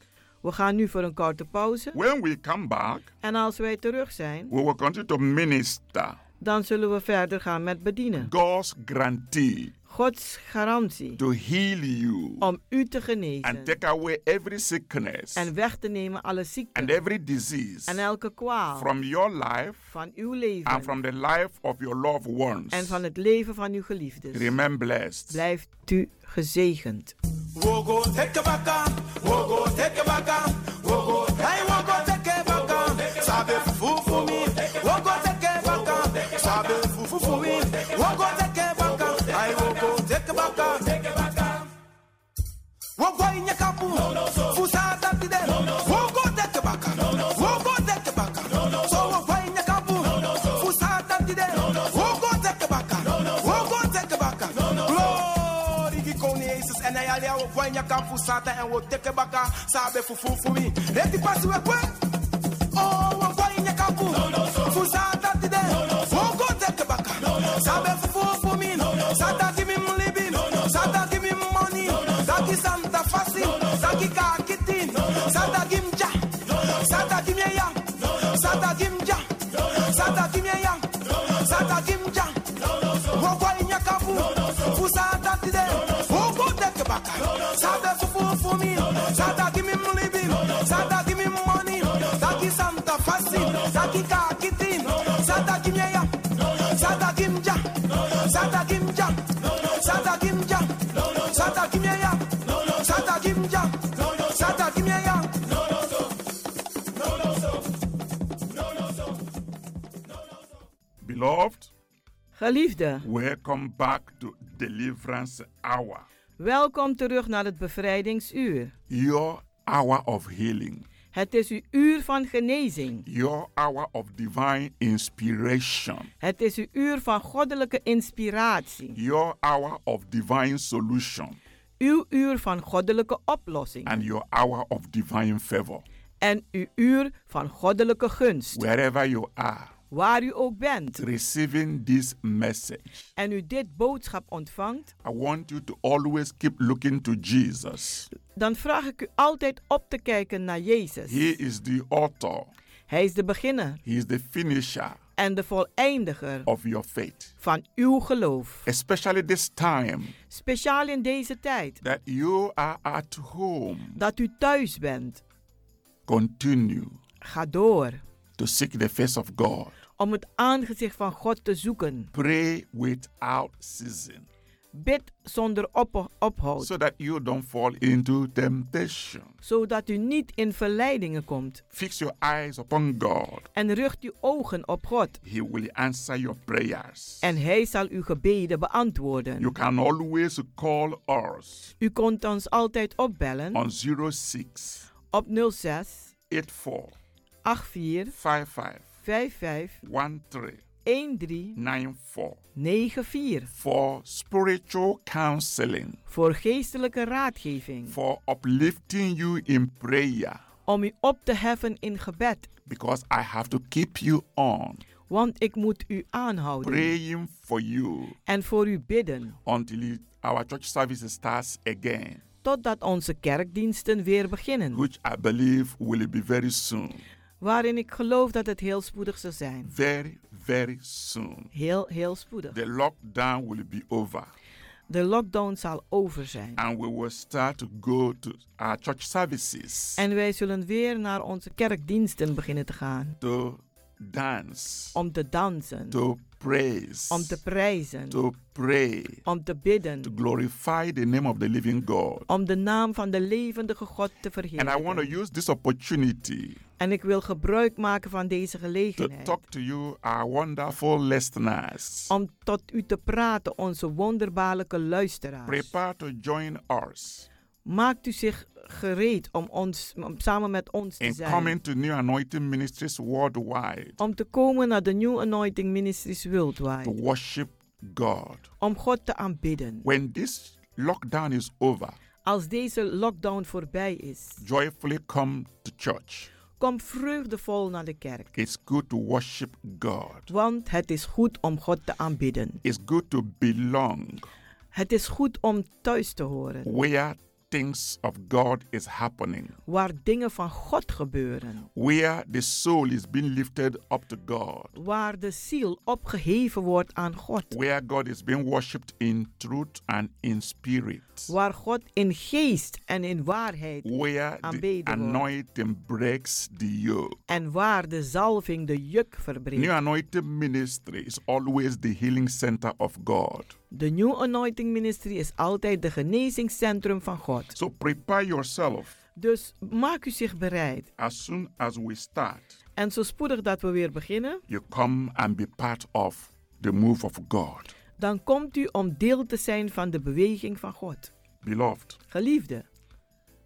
[SPEAKER 9] we gaan nu voor een korte pauze.
[SPEAKER 7] When we come back,
[SPEAKER 9] En als wij terug zijn,
[SPEAKER 7] we will continue to minister
[SPEAKER 9] dan zullen we verder gaan met bedienen.
[SPEAKER 7] God's grantee
[SPEAKER 9] Gods garantie
[SPEAKER 7] to heal you
[SPEAKER 9] om u te genezen
[SPEAKER 7] and take away every sickness
[SPEAKER 9] en weg te nemen alle ziekte
[SPEAKER 7] and every disease
[SPEAKER 9] en elke kwaal
[SPEAKER 7] from your life
[SPEAKER 9] van uw
[SPEAKER 7] and
[SPEAKER 9] leven
[SPEAKER 7] from the life of your loved ones.
[SPEAKER 9] en van het leven van uw geliefden.
[SPEAKER 7] Remain blessed.
[SPEAKER 9] Blijft u gezegend.
[SPEAKER 3] Wogo teke baka, wogo teke baka, wogo hey wogo teke baka, sabe fufu for me, wogo teke baka, sabe fufu for me, wogo teke baka, hey wogo teke baka, teke baka. Wogo inye kapu, fusa tati de, wogo teke baka, wogo teke baka, so wogo inye kapu, fusa tati de, wogo teke baka, wogo teke baka, glory. Origi koni Jesus and I ali awo kwanya kampu sata and wo teke baka sabe fufu for me. Let it pass we kwe. Oh, wo kwanya kampu. Fu sata tide. Wo go teke baka. Sabe fufu for me. Sata give me living. Sata give me money. Zaki santa fasi. Zaki ka kitin. Sata give me ja. Sata give me yang. Sata give me ja. Sata give me yang. Sata give me ja. Wọ́pọ̀ ìyẹn kan fún fún sáadá dídé. Ogún tẹ̀kẹ̀ bàkà. Sáadá funfun fún mi. Sáadá kí mi múlí bí. Sáadá kí mi mọ́ni. Sáàkì Santa Fasi. Sáàkì Kàkítì. Sáadá kí mi ẹ̀yà. Sáadá kí mi jà. Sáadá kí mi jà. Sáadá kí mi jà. Sáadá kí mi ẹ̀yà. Sáadá kí mi jà. Sáadá kí mi ẹ̀yà.
[SPEAKER 7] Beloved,
[SPEAKER 9] Geliefde,
[SPEAKER 7] welcome back to Deliverance Hour,
[SPEAKER 9] welkom terug naar het bevrijdingsuur.
[SPEAKER 7] your hour of healing,
[SPEAKER 9] Het is uw uur van genezing.
[SPEAKER 7] your hour of divine inspiration,
[SPEAKER 9] Het is uw uur van goddelijke inspiratie.
[SPEAKER 7] your hour of divine solution,
[SPEAKER 9] Uw uur van goddelijke oplossing.
[SPEAKER 7] and your hour of divine favor.
[SPEAKER 9] En uw uur van goddelijke gunst.
[SPEAKER 7] Wherever you are,
[SPEAKER 9] Waar u ook bent
[SPEAKER 7] receiving this message,
[SPEAKER 9] en u dit boodschap ontvangt,
[SPEAKER 7] I want you to always keep looking to Jesus.
[SPEAKER 9] dan vraag ik u altijd op te kijken naar Jezus.
[SPEAKER 7] He is the author,
[SPEAKER 9] Hij is de beginner
[SPEAKER 7] He is the finisher
[SPEAKER 9] en de voleindiger
[SPEAKER 7] of your faith.
[SPEAKER 9] van uw geloof.
[SPEAKER 7] Especially this time
[SPEAKER 9] Speciaal in deze tijd
[SPEAKER 7] that you are at home,
[SPEAKER 9] dat u thuis bent.
[SPEAKER 7] continue
[SPEAKER 9] Ga door
[SPEAKER 7] to seek the face of God.
[SPEAKER 9] om het aangezicht van God te zoeken.
[SPEAKER 7] Pray without ceasing
[SPEAKER 9] Bid zonder op ophoud,
[SPEAKER 7] so that you don't fall into temptation.
[SPEAKER 9] zodat u niet in verleidingen komt.
[SPEAKER 7] Fix your eyes upon God.
[SPEAKER 9] En richt uw ogen op God
[SPEAKER 7] He will answer your prayers.
[SPEAKER 9] en Hij zal uw gebeden beantwoorden.
[SPEAKER 7] You can always call us
[SPEAKER 9] U kunt ons altijd opbellen
[SPEAKER 7] on 06
[SPEAKER 9] op 06
[SPEAKER 7] 84
[SPEAKER 9] 84
[SPEAKER 7] 55
[SPEAKER 9] 55
[SPEAKER 7] 13
[SPEAKER 9] 13
[SPEAKER 7] 94
[SPEAKER 9] 94
[SPEAKER 7] for spiritual counseling,
[SPEAKER 9] voor geestelijke raadgeving,
[SPEAKER 7] for uplifting you in prayer,
[SPEAKER 9] om u op te heffen in gebed.
[SPEAKER 7] because I have to keep you on
[SPEAKER 9] Want ik moet u aanhouden
[SPEAKER 7] praying for you
[SPEAKER 9] en voor u bidden.
[SPEAKER 7] until it- our church service starts again,
[SPEAKER 9] Totdat onze kerkdiensten weer beginnen.
[SPEAKER 7] which I believe will be very soon.
[SPEAKER 9] Waarin ik geloof dat het heel spoedig zal zijn.
[SPEAKER 7] Very, very soon.
[SPEAKER 9] Heel, heel spoedig.
[SPEAKER 7] The lockdown will be over
[SPEAKER 9] De lockdown zal over zijn.
[SPEAKER 7] and we will start to go to our church services
[SPEAKER 9] En wij zullen weer naar onze kerkdiensten beginnen te gaan.
[SPEAKER 7] to dance,
[SPEAKER 9] Om te dansen.
[SPEAKER 7] to praise,
[SPEAKER 9] Om te prijzen.
[SPEAKER 7] to pray,
[SPEAKER 9] Om te bidden.
[SPEAKER 7] to glorify the name of the living God.
[SPEAKER 9] Om de naam van de levendige God te
[SPEAKER 7] And I want to
[SPEAKER 9] verheerlijken.
[SPEAKER 7] use this opportunity
[SPEAKER 9] En ik wil gebruik maken van deze
[SPEAKER 7] to
[SPEAKER 9] gelegenheid.
[SPEAKER 7] talk to you, our wonderful listeners.
[SPEAKER 9] Om tot u te praten, onze wonderbaarlijke luisteraars.
[SPEAKER 7] Prepare to join us
[SPEAKER 9] Maakt u zich gereed om, ons, om samen met ons te
[SPEAKER 7] in
[SPEAKER 9] zijn.
[SPEAKER 7] coming to New Anointing Ministries worldwide
[SPEAKER 9] Om te komen naar de New Anointing Ministries
[SPEAKER 7] to
[SPEAKER 9] Worldwide.
[SPEAKER 7] worship God.
[SPEAKER 9] Om God te aanbidden.
[SPEAKER 7] When this lockdown is over,
[SPEAKER 9] Als deze lockdown voorbij is,
[SPEAKER 7] joyfully come to church.
[SPEAKER 9] kom vreugdevol naar de kerk.
[SPEAKER 7] It's good to worship God.
[SPEAKER 9] Want het is goed om God te aanbidden.
[SPEAKER 7] It's good to belong
[SPEAKER 9] Het is goed om thuis te horen.
[SPEAKER 7] where things of God is happening,
[SPEAKER 9] Waar dingen van God gebeuren.
[SPEAKER 7] where the soul is being lifted up to God,
[SPEAKER 9] Waar de ziel opgeheven wordt aan God.
[SPEAKER 7] where God is being worshipped in truth and in spirit,
[SPEAKER 9] Waar God in geest en in waarheid
[SPEAKER 7] where the
[SPEAKER 9] aanbeden wordt.
[SPEAKER 7] anointing breaks the yoke.
[SPEAKER 9] En waar de zalving de juk verbreekt.
[SPEAKER 7] New Anointing Ministry is always the healing center of God.
[SPEAKER 9] De New Anointing Ministry is altijd de genezingscentrum van God.
[SPEAKER 7] So prepare yourself
[SPEAKER 9] Dus maak u zich bereid.
[SPEAKER 7] as soon as we start.
[SPEAKER 9] En zo spoedig dat we weer beginnen,
[SPEAKER 7] You come and be part of the move of God.
[SPEAKER 9] dan komt u om deel te zijn van de beweging van God.
[SPEAKER 7] Beloved,
[SPEAKER 9] Geliefde,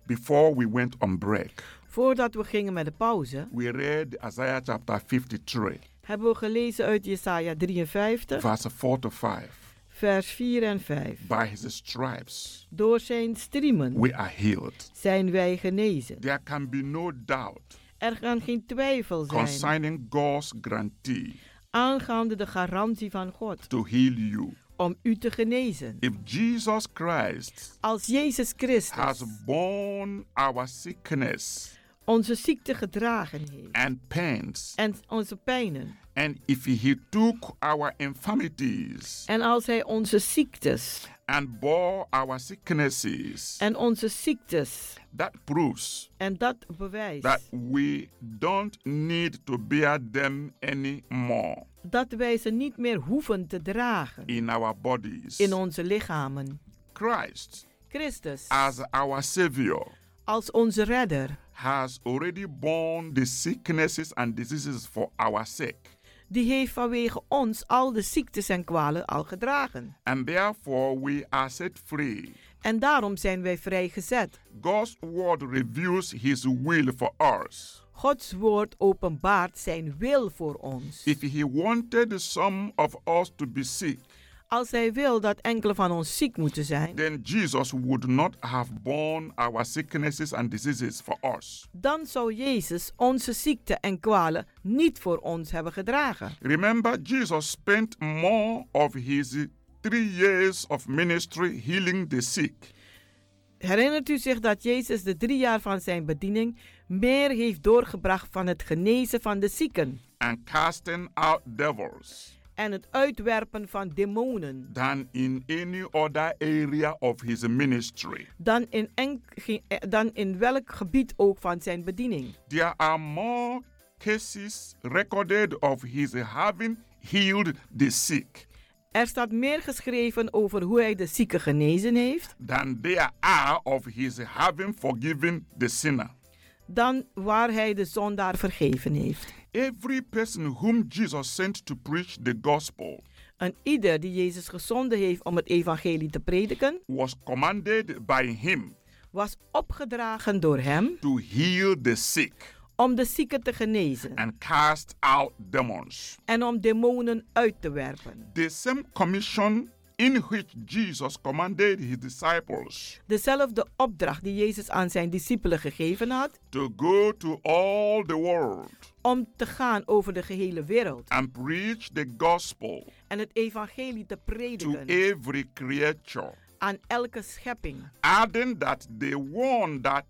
[SPEAKER 7] before we went on break,
[SPEAKER 9] voordat we gingen met de pauze,
[SPEAKER 7] we read Isaiah chapter 53,
[SPEAKER 9] hebben we gelezen uit Jesaja 53,
[SPEAKER 7] verse 4 to 5.
[SPEAKER 9] vers 4 en 5.
[SPEAKER 7] By his stripes
[SPEAKER 9] Door zijn striemen
[SPEAKER 7] we are healed.
[SPEAKER 9] zijn wij genezen.
[SPEAKER 7] There can be no doubt
[SPEAKER 9] Er kan geen twijfel zijn
[SPEAKER 7] concerning God's guarantee
[SPEAKER 9] aangaande de garantie van God
[SPEAKER 7] to heal you.
[SPEAKER 9] om u te genezen.
[SPEAKER 7] If Jesus Christ
[SPEAKER 9] Als Jezus Christus
[SPEAKER 7] has borne our sickness
[SPEAKER 9] onze ziekte gedragen heeft
[SPEAKER 7] and pains,
[SPEAKER 9] en onze pijnen,
[SPEAKER 7] and if he took our infirmities
[SPEAKER 9] en als hij onze ziektes
[SPEAKER 7] and bore our sicknesses,
[SPEAKER 9] en onze ziektes
[SPEAKER 7] that proves
[SPEAKER 9] en dat bewijst
[SPEAKER 7] that we don't need to bear them anymore
[SPEAKER 9] dat wij ze niet meer hoeven te dragen
[SPEAKER 7] in our bodies.
[SPEAKER 9] in onze lichamen.
[SPEAKER 7] Christ,
[SPEAKER 9] Christus
[SPEAKER 7] as our Savior,
[SPEAKER 9] als onze redder,
[SPEAKER 7] has already borne the sicknesses and diseases for our sake.
[SPEAKER 9] die heeft vanwege ons al de ziektes en kwalen al gedragen.
[SPEAKER 7] And therefore, we are set free.
[SPEAKER 9] En daarom zijn wij vrijgezet.
[SPEAKER 7] God's word reveals his will for us.
[SPEAKER 9] Gods woord openbaart zijn wil voor ons.
[SPEAKER 7] If he wanted some of us to be sick,
[SPEAKER 9] Als hij wil dat enkele van ons ziek moeten zijn,
[SPEAKER 7] then Jesus would not have borne our sicknesses and diseases for us.
[SPEAKER 9] dan zou Jezus onze ziekte en kwalen niet voor ons hebben gedragen.
[SPEAKER 7] Remember, Jesus spent more of his three years of ministry healing the sick
[SPEAKER 9] Herinnert u zich dat Jezus de drie jaar van zijn bediening meer heeft doorgebracht van het genezen van de zieken
[SPEAKER 7] and casting out devils
[SPEAKER 9] en het uitwerpen van demonen
[SPEAKER 7] than in any other area of his ministry.
[SPEAKER 9] dan in, enk- ge- eh, dan in welk gebied ook van zijn bediening?
[SPEAKER 7] There are more cases recorded of his having healed the sick
[SPEAKER 9] Er staat meer geschreven over hoe hij de zieken genezen heeft
[SPEAKER 7] than there are of his having forgiven the sinner.
[SPEAKER 9] dan waar hij de zondaar vergeven heeft.
[SPEAKER 7] Every person whom Jesus sent to preach the gospel
[SPEAKER 9] En ieder die Jezus gezonden heeft om het evangelie te prediken,
[SPEAKER 7] was commanded by him
[SPEAKER 9] was opgedragen door hem
[SPEAKER 7] to heal the sick
[SPEAKER 9] om de zieken te genezen
[SPEAKER 7] and cast out demons.
[SPEAKER 9] en om demonen uit te werpen.
[SPEAKER 7] The same commission in which Jesus commanded his disciples
[SPEAKER 9] Dezelfde opdracht die Jezus aan zijn discipelen gegeven had
[SPEAKER 7] to go to all the world
[SPEAKER 9] om te gaan over de gehele wereld
[SPEAKER 7] and preach the gospel
[SPEAKER 9] en het evangelie te
[SPEAKER 7] to
[SPEAKER 9] prediken
[SPEAKER 7] every creature,
[SPEAKER 9] aan elke schepping.
[SPEAKER 7] adding that the one that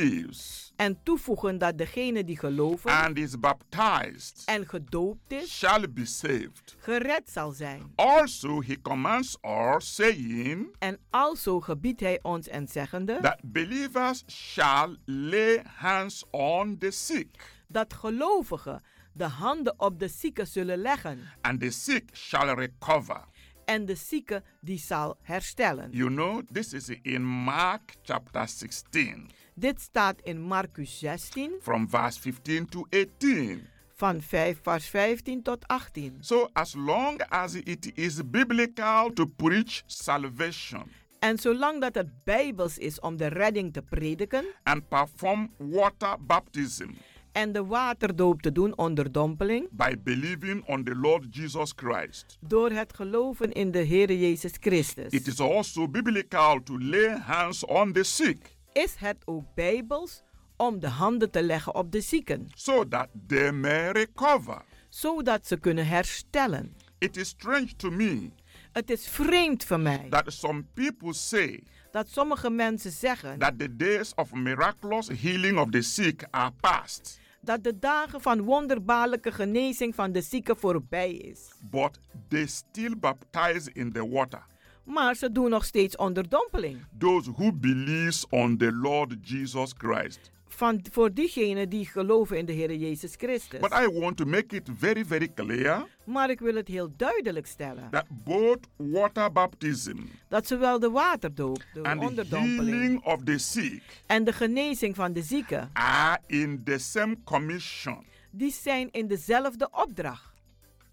[SPEAKER 7] believes
[SPEAKER 9] En toevoegen dat degene die geloven
[SPEAKER 7] and is baptized
[SPEAKER 9] en gedoopt is,
[SPEAKER 7] shall be saved.
[SPEAKER 9] gered zal zijn.
[SPEAKER 7] Also, he commands us, saying
[SPEAKER 9] En alzo gebiedt hij ons en zeggende
[SPEAKER 7] that believers shall lay hands on the sick,
[SPEAKER 9] dat gelovigen de handen op de zieken zullen leggen
[SPEAKER 7] and the sick shall recover.
[SPEAKER 9] en de zieke die zal herstellen.
[SPEAKER 7] You know, this is in Mark chapter 16,
[SPEAKER 9] Dit staat in Marcus 16
[SPEAKER 7] from verse 15 to 18.
[SPEAKER 9] van 5 vers 15 tot 18.
[SPEAKER 7] So, as long as it is biblical to preach salvation
[SPEAKER 9] En zolang dat het bijbels is om de redding te prediken
[SPEAKER 7] and perform water baptism
[SPEAKER 9] en de waterdoop te doen onder dompeling,
[SPEAKER 7] by believing on the Lord Jesus Christ,
[SPEAKER 9] door het geloven in de Heere Jezus Christus,
[SPEAKER 7] it is also biblical to lay hands on the sick
[SPEAKER 9] is het ook bijbels om de handen te leggen op de zieken,
[SPEAKER 7] so that they may recover.
[SPEAKER 9] zodat ze kunnen herstellen.
[SPEAKER 7] It is strange to me
[SPEAKER 9] Het is vreemd voor mij
[SPEAKER 7] that some people say
[SPEAKER 9] dat sommige mensen zeggen
[SPEAKER 7] that the days of miraculous healing of the sick are past.
[SPEAKER 9] dat de dagen van wonderbaarlijke genezing van de zieken voorbij is.
[SPEAKER 7] but they still baptize in the water
[SPEAKER 9] Maar ze doen nog steeds onderdompeling.
[SPEAKER 7] those who believes on the Lord Jesus Christ.
[SPEAKER 9] Van, voor diegenen die geloven in de Heer Jezus Christus.
[SPEAKER 7] But I want to make it very, very clear
[SPEAKER 9] Maar ik wil het heel duidelijk stellen.
[SPEAKER 7] that both water baptism
[SPEAKER 9] Dat zowel de waterdoop, de
[SPEAKER 7] and the
[SPEAKER 9] onderdompeling
[SPEAKER 7] healing of the sick
[SPEAKER 9] en de genezing van de zieken,
[SPEAKER 7] are in the same commission.
[SPEAKER 9] die zijn in dezelfde opdracht.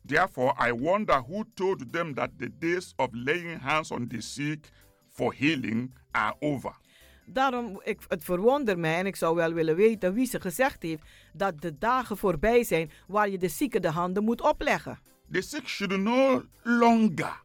[SPEAKER 7] Therefore, I wonder who told them that the days of laying hands on the sick for healing are over.
[SPEAKER 9] Daarom, ik, het verwonder mij en ik zou wel willen weten wie ze gezegd heeft dat de dagen voorbij zijn waar je de zieken de handen moet opleggen.
[SPEAKER 7] The sick should no longer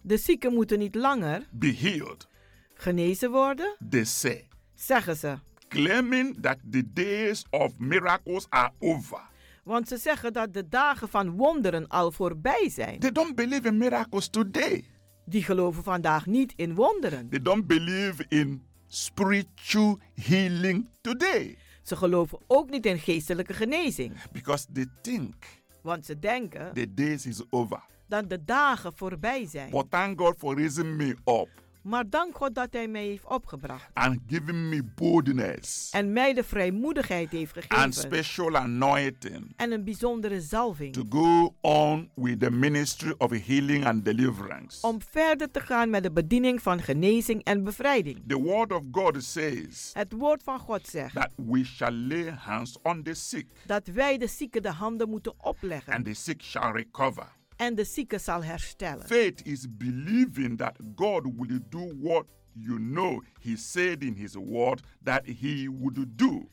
[SPEAKER 9] De zieken moeten niet langer
[SPEAKER 7] be healed,
[SPEAKER 9] genezen worden,
[SPEAKER 7] they say.
[SPEAKER 9] zeggen ze.
[SPEAKER 7] claiming that the days of miracles are over.
[SPEAKER 9] Want ze zeggen dat de dagen van wonderen al voorbij zijn.
[SPEAKER 7] They don't believe in miracles today.
[SPEAKER 9] Die geloven vandaag niet in wonderen.
[SPEAKER 7] They don't believe in spiritual healing today
[SPEAKER 9] Ze geloven ook niet in geestelijke genezing.
[SPEAKER 7] because they think
[SPEAKER 9] Want ze denken
[SPEAKER 7] the days is over.
[SPEAKER 9] dat de dagen voorbij zijn.
[SPEAKER 7] But thank God for raising me up
[SPEAKER 9] Maar dank God dat Hij mij heeft opgebracht.
[SPEAKER 7] and giving me boldness
[SPEAKER 9] En mij de vrijmoedigheid heeft
[SPEAKER 7] and
[SPEAKER 9] gegeven.
[SPEAKER 7] special anointing
[SPEAKER 9] En een bijzondere
[SPEAKER 7] to
[SPEAKER 9] zalving.
[SPEAKER 7] go on with the ministry of healing and deliverance.
[SPEAKER 9] Om verder te gaan met de bediening van genezing en bevrijding.
[SPEAKER 7] The word of God says
[SPEAKER 9] Het woord van God zegt
[SPEAKER 7] that we shall lay hands on the sick
[SPEAKER 9] dat wij de zieken de handen moeten opleggen.
[SPEAKER 7] and the sick shall recover.
[SPEAKER 9] En de zieke zal herstellen.
[SPEAKER 7] Faith is believing that God will do what you know He said in His word that He would do.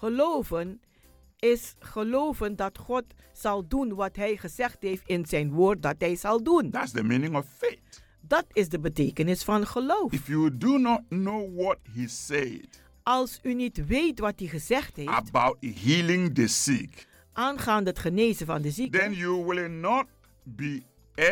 [SPEAKER 9] Geloven is geloven dat God zal doen wat Hij gezegd heeft in zijn woord dat Hij zal doen.
[SPEAKER 7] That's the meaning of faith.
[SPEAKER 9] Dat is de betekenis van geloof.
[SPEAKER 7] If you do not know what He said
[SPEAKER 9] Als u niet weet wat Hij gezegd heeft
[SPEAKER 7] about healing the sick,
[SPEAKER 9] aangaande het genezen van de
[SPEAKER 7] then
[SPEAKER 9] zieken,
[SPEAKER 7] you will not be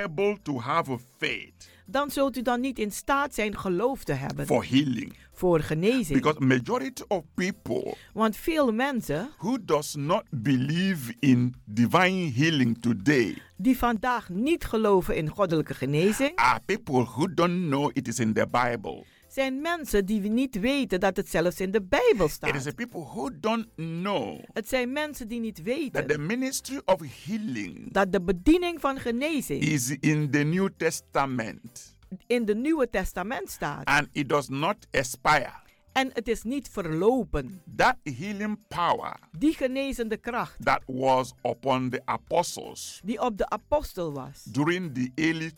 [SPEAKER 7] able to have a faith
[SPEAKER 9] dan zult u dan niet in staat zijn geloof te hebben
[SPEAKER 7] for healing
[SPEAKER 9] voor genezing.
[SPEAKER 7] because majority of people
[SPEAKER 9] Want veel mensen
[SPEAKER 7] who does not believe in divine healing today
[SPEAKER 9] die vandaag niet geloven in goddelijke genezing,
[SPEAKER 7] are people who don't know it is in the bible
[SPEAKER 9] zijn mensen die niet weten dat het zelfs in de Bijbel
[SPEAKER 7] It is
[SPEAKER 9] staat.
[SPEAKER 7] the people who don't know
[SPEAKER 9] Het zijn mensen die niet
[SPEAKER 7] that
[SPEAKER 9] weten
[SPEAKER 7] the ministry of healing
[SPEAKER 9] dat de bediening van genezing
[SPEAKER 7] is in the New Testament
[SPEAKER 9] in de Nieuwe Testament staat.
[SPEAKER 7] and it does not expire.
[SPEAKER 9] En het is niet verlopen.
[SPEAKER 7] That healing power
[SPEAKER 9] Die genezende kracht
[SPEAKER 7] that was upon the apostles
[SPEAKER 9] die op de apostel was
[SPEAKER 7] during the early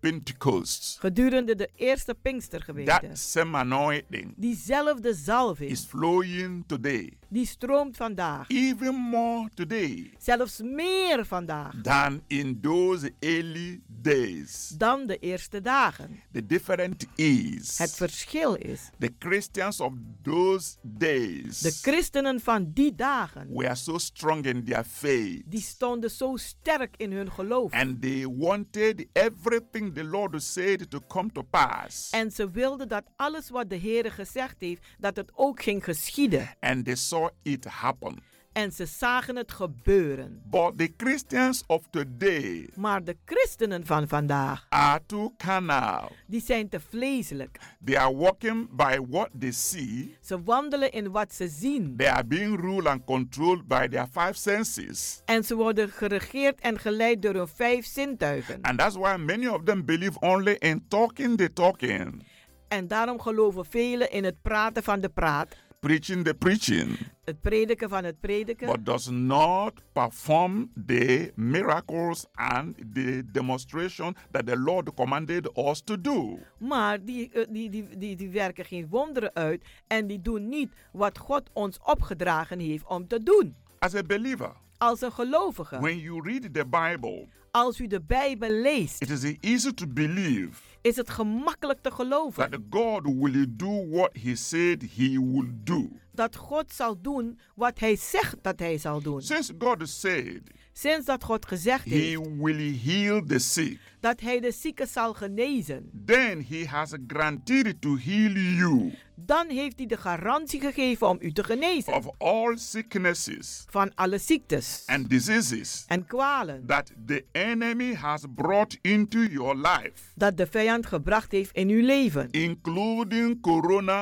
[SPEAKER 7] Pentecost,
[SPEAKER 9] gedurende de eerste Pinkstergemeente.
[SPEAKER 7] that same anointing
[SPEAKER 9] Diezelfde zalving
[SPEAKER 7] is flowing today
[SPEAKER 9] die stroomt vandaag.
[SPEAKER 7] Even more today.
[SPEAKER 9] Zelfs meer vandaag
[SPEAKER 7] than in those early days.
[SPEAKER 9] dan de eerste dagen.
[SPEAKER 7] The difference is
[SPEAKER 9] Het verschil is,
[SPEAKER 7] the Christians of those days
[SPEAKER 9] de christenen van die dagen,
[SPEAKER 7] were so strong in their faith
[SPEAKER 9] die stonden zo sterk in hun geloof.
[SPEAKER 7] and they wanted everything the Lord said to come to pass.
[SPEAKER 9] En ze wilden dat alles wat de Heer gezegd heeft, dat het ook ging geschieden.
[SPEAKER 7] And they saw it happen.
[SPEAKER 9] En ze zagen het gebeuren.
[SPEAKER 7] But the Christians of today
[SPEAKER 9] Maar de christenen van vandaag,
[SPEAKER 7] are too carnal.
[SPEAKER 9] die zijn te vleeselijk.
[SPEAKER 7] They are walking by what they see.
[SPEAKER 9] Ze wandelen in wat ze zien.
[SPEAKER 7] They are being ruled and controlled by their five senses.
[SPEAKER 9] En ze worden geregeerd en geleid door hun vijf zintuigen.
[SPEAKER 7] And that's why many of them believe only in talking the talking,
[SPEAKER 9] En daarom geloven velen in het praten van de praat,
[SPEAKER 7] preaching the preaching,
[SPEAKER 9] het prediken van het prediken,
[SPEAKER 7] but does not perform the miracles and the demonstration that the Lord commanded us to do.
[SPEAKER 9] maar die, eh, die, die, die, die werken geen wonderen uit en die doen niet wat God ons opgedragen heeft om te doen.
[SPEAKER 7] As a believer,
[SPEAKER 9] Als een gelovige,
[SPEAKER 7] when you read the Bible,
[SPEAKER 9] als u de Bijbel leest,
[SPEAKER 7] it is easy to believe
[SPEAKER 9] is het gemakkelijk te geloven
[SPEAKER 7] that God will do what He said He would do.
[SPEAKER 9] dat God zal doen wat Hij zegt dat Hij zal doen.
[SPEAKER 7] Since God said
[SPEAKER 9] Sinds dat God gezegd
[SPEAKER 7] He
[SPEAKER 9] heeft
[SPEAKER 7] will heal the sick,
[SPEAKER 9] dat Hij de zieken zal genezen,
[SPEAKER 7] then He has guaranteed to heal you
[SPEAKER 9] dan heeft hij de garantie gegeven om u te genezen
[SPEAKER 7] of all sicknesses
[SPEAKER 9] van alle ziektes
[SPEAKER 7] and diseases
[SPEAKER 9] en kwalen
[SPEAKER 7] that the enemy has brought into your life,
[SPEAKER 9] dat de vijand gebracht heeft in uw leven,
[SPEAKER 7] including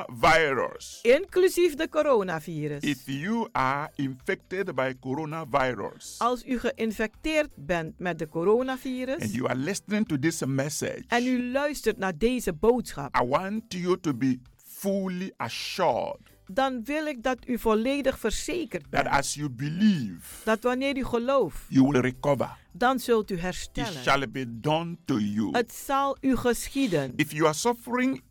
[SPEAKER 7] coronavirus.
[SPEAKER 9] inclusief de coronavirus.
[SPEAKER 7] If you are infected by coronavirus
[SPEAKER 9] Als u geïnfecteerd bent met de
[SPEAKER 7] and
[SPEAKER 9] coronavirus
[SPEAKER 7] you are listening to this message,
[SPEAKER 9] en u luistert naar deze boodschap,
[SPEAKER 7] I want you to be fully assured
[SPEAKER 9] dan wil ik dat u volledig verzekerd
[SPEAKER 7] that
[SPEAKER 9] bent
[SPEAKER 7] as you believe,
[SPEAKER 9] dat wanneer u gelooft,
[SPEAKER 7] you will recover.
[SPEAKER 9] dan zult u
[SPEAKER 7] It
[SPEAKER 9] herstellen.
[SPEAKER 7] shall be done to you.
[SPEAKER 9] Het zal u geschieden.
[SPEAKER 7] If you are suffering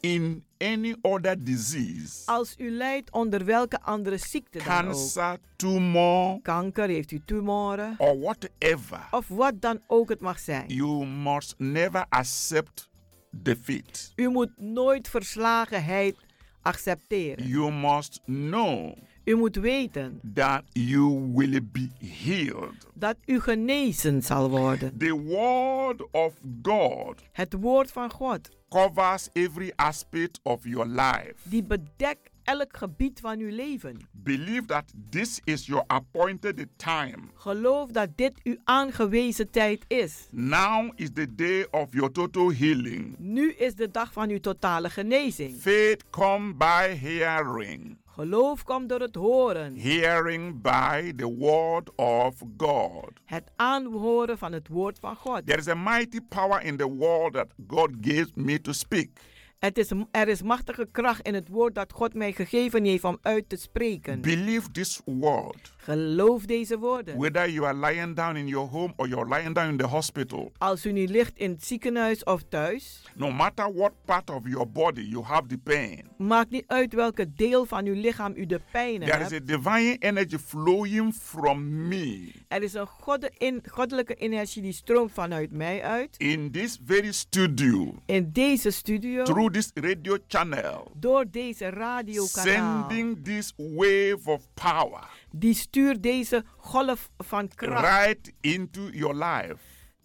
[SPEAKER 7] in any other disease,
[SPEAKER 9] Als u lijdt onder welke andere ziekte dan ook,
[SPEAKER 7] cancer, tumor,
[SPEAKER 9] kanker, heeft u tumoren,
[SPEAKER 7] or whatever,
[SPEAKER 9] of wat dan ook het mag zijn.
[SPEAKER 7] you must never accept defeat.
[SPEAKER 9] U moet nooit verslagenheid accepteren.
[SPEAKER 7] You must know
[SPEAKER 9] U moet weten
[SPEAKER 7] that you will be healed.
[SPEAKER 9] dat u genezen zal worden.
[SPEAKER 7] The word of God
[SPEAKER 9] Het woord van God,
[SPEAKER 7] covers every aspect of your life.
[SPEAKER 9] die bedekt elk gebied van uw leven.
[SPEAKER 7] Believe that this is your appointed time.
[SPEAKER 9] Geloof dat dit uw aangewezen tijd is.
[SPEAKER 7] Now is the day of your total healing.
[SPEAKER 9] Nu is de dag van uw totale genezing.
[SPEAKER 7] Faith come by hearing,
[SPEAKER 9] Geloof komt door het horen,
[SPEAKER 7] hearing by the word of God.
[SPEAKER 9] het aanhoren van het woord van God.
[SPEAKER 7] There is a mighty power in the word that God gave me to speak.
[SPEAKER 9] Het is, er is machtige kracht in het woord dat God mij gegeven heeft om uit te spreken.
[SPEAKER 7] Believe this word.
[SPEAKER 9] Geloof deze woorden.
[SPEAKER 7] Whether you are lying down in your home or you're lying down in the hospital,
[SPEAKER 9] Als u nu ligt in het ziekenhuis of thuis,
[SPEAKER 7] no matter what part of your body you have the pain,
[SPEAKER 9] maakt niet uit welke deel van uw lichaam u de pijn
[SPEAKER 7] there is
[SPEAKER 9] hebt.
[SPEAKER 7] a divine energy flowing from me
[SPEAKER 9] Er is een godde- in- goddelijke energie die stroomt vanuit mij uit.
[SPEAKER 7] in this very studio,
[SPEAKER 9] In deze studio,
[SPEAKER 7] through this radio channel,
[SPEAKER 9] door deze radiokanaal.
[SPEAKER 7] sending this wave of power
[SPEAKER 9] Die stuurt deze golf van kracht
[SPEAKER 7] right into your life.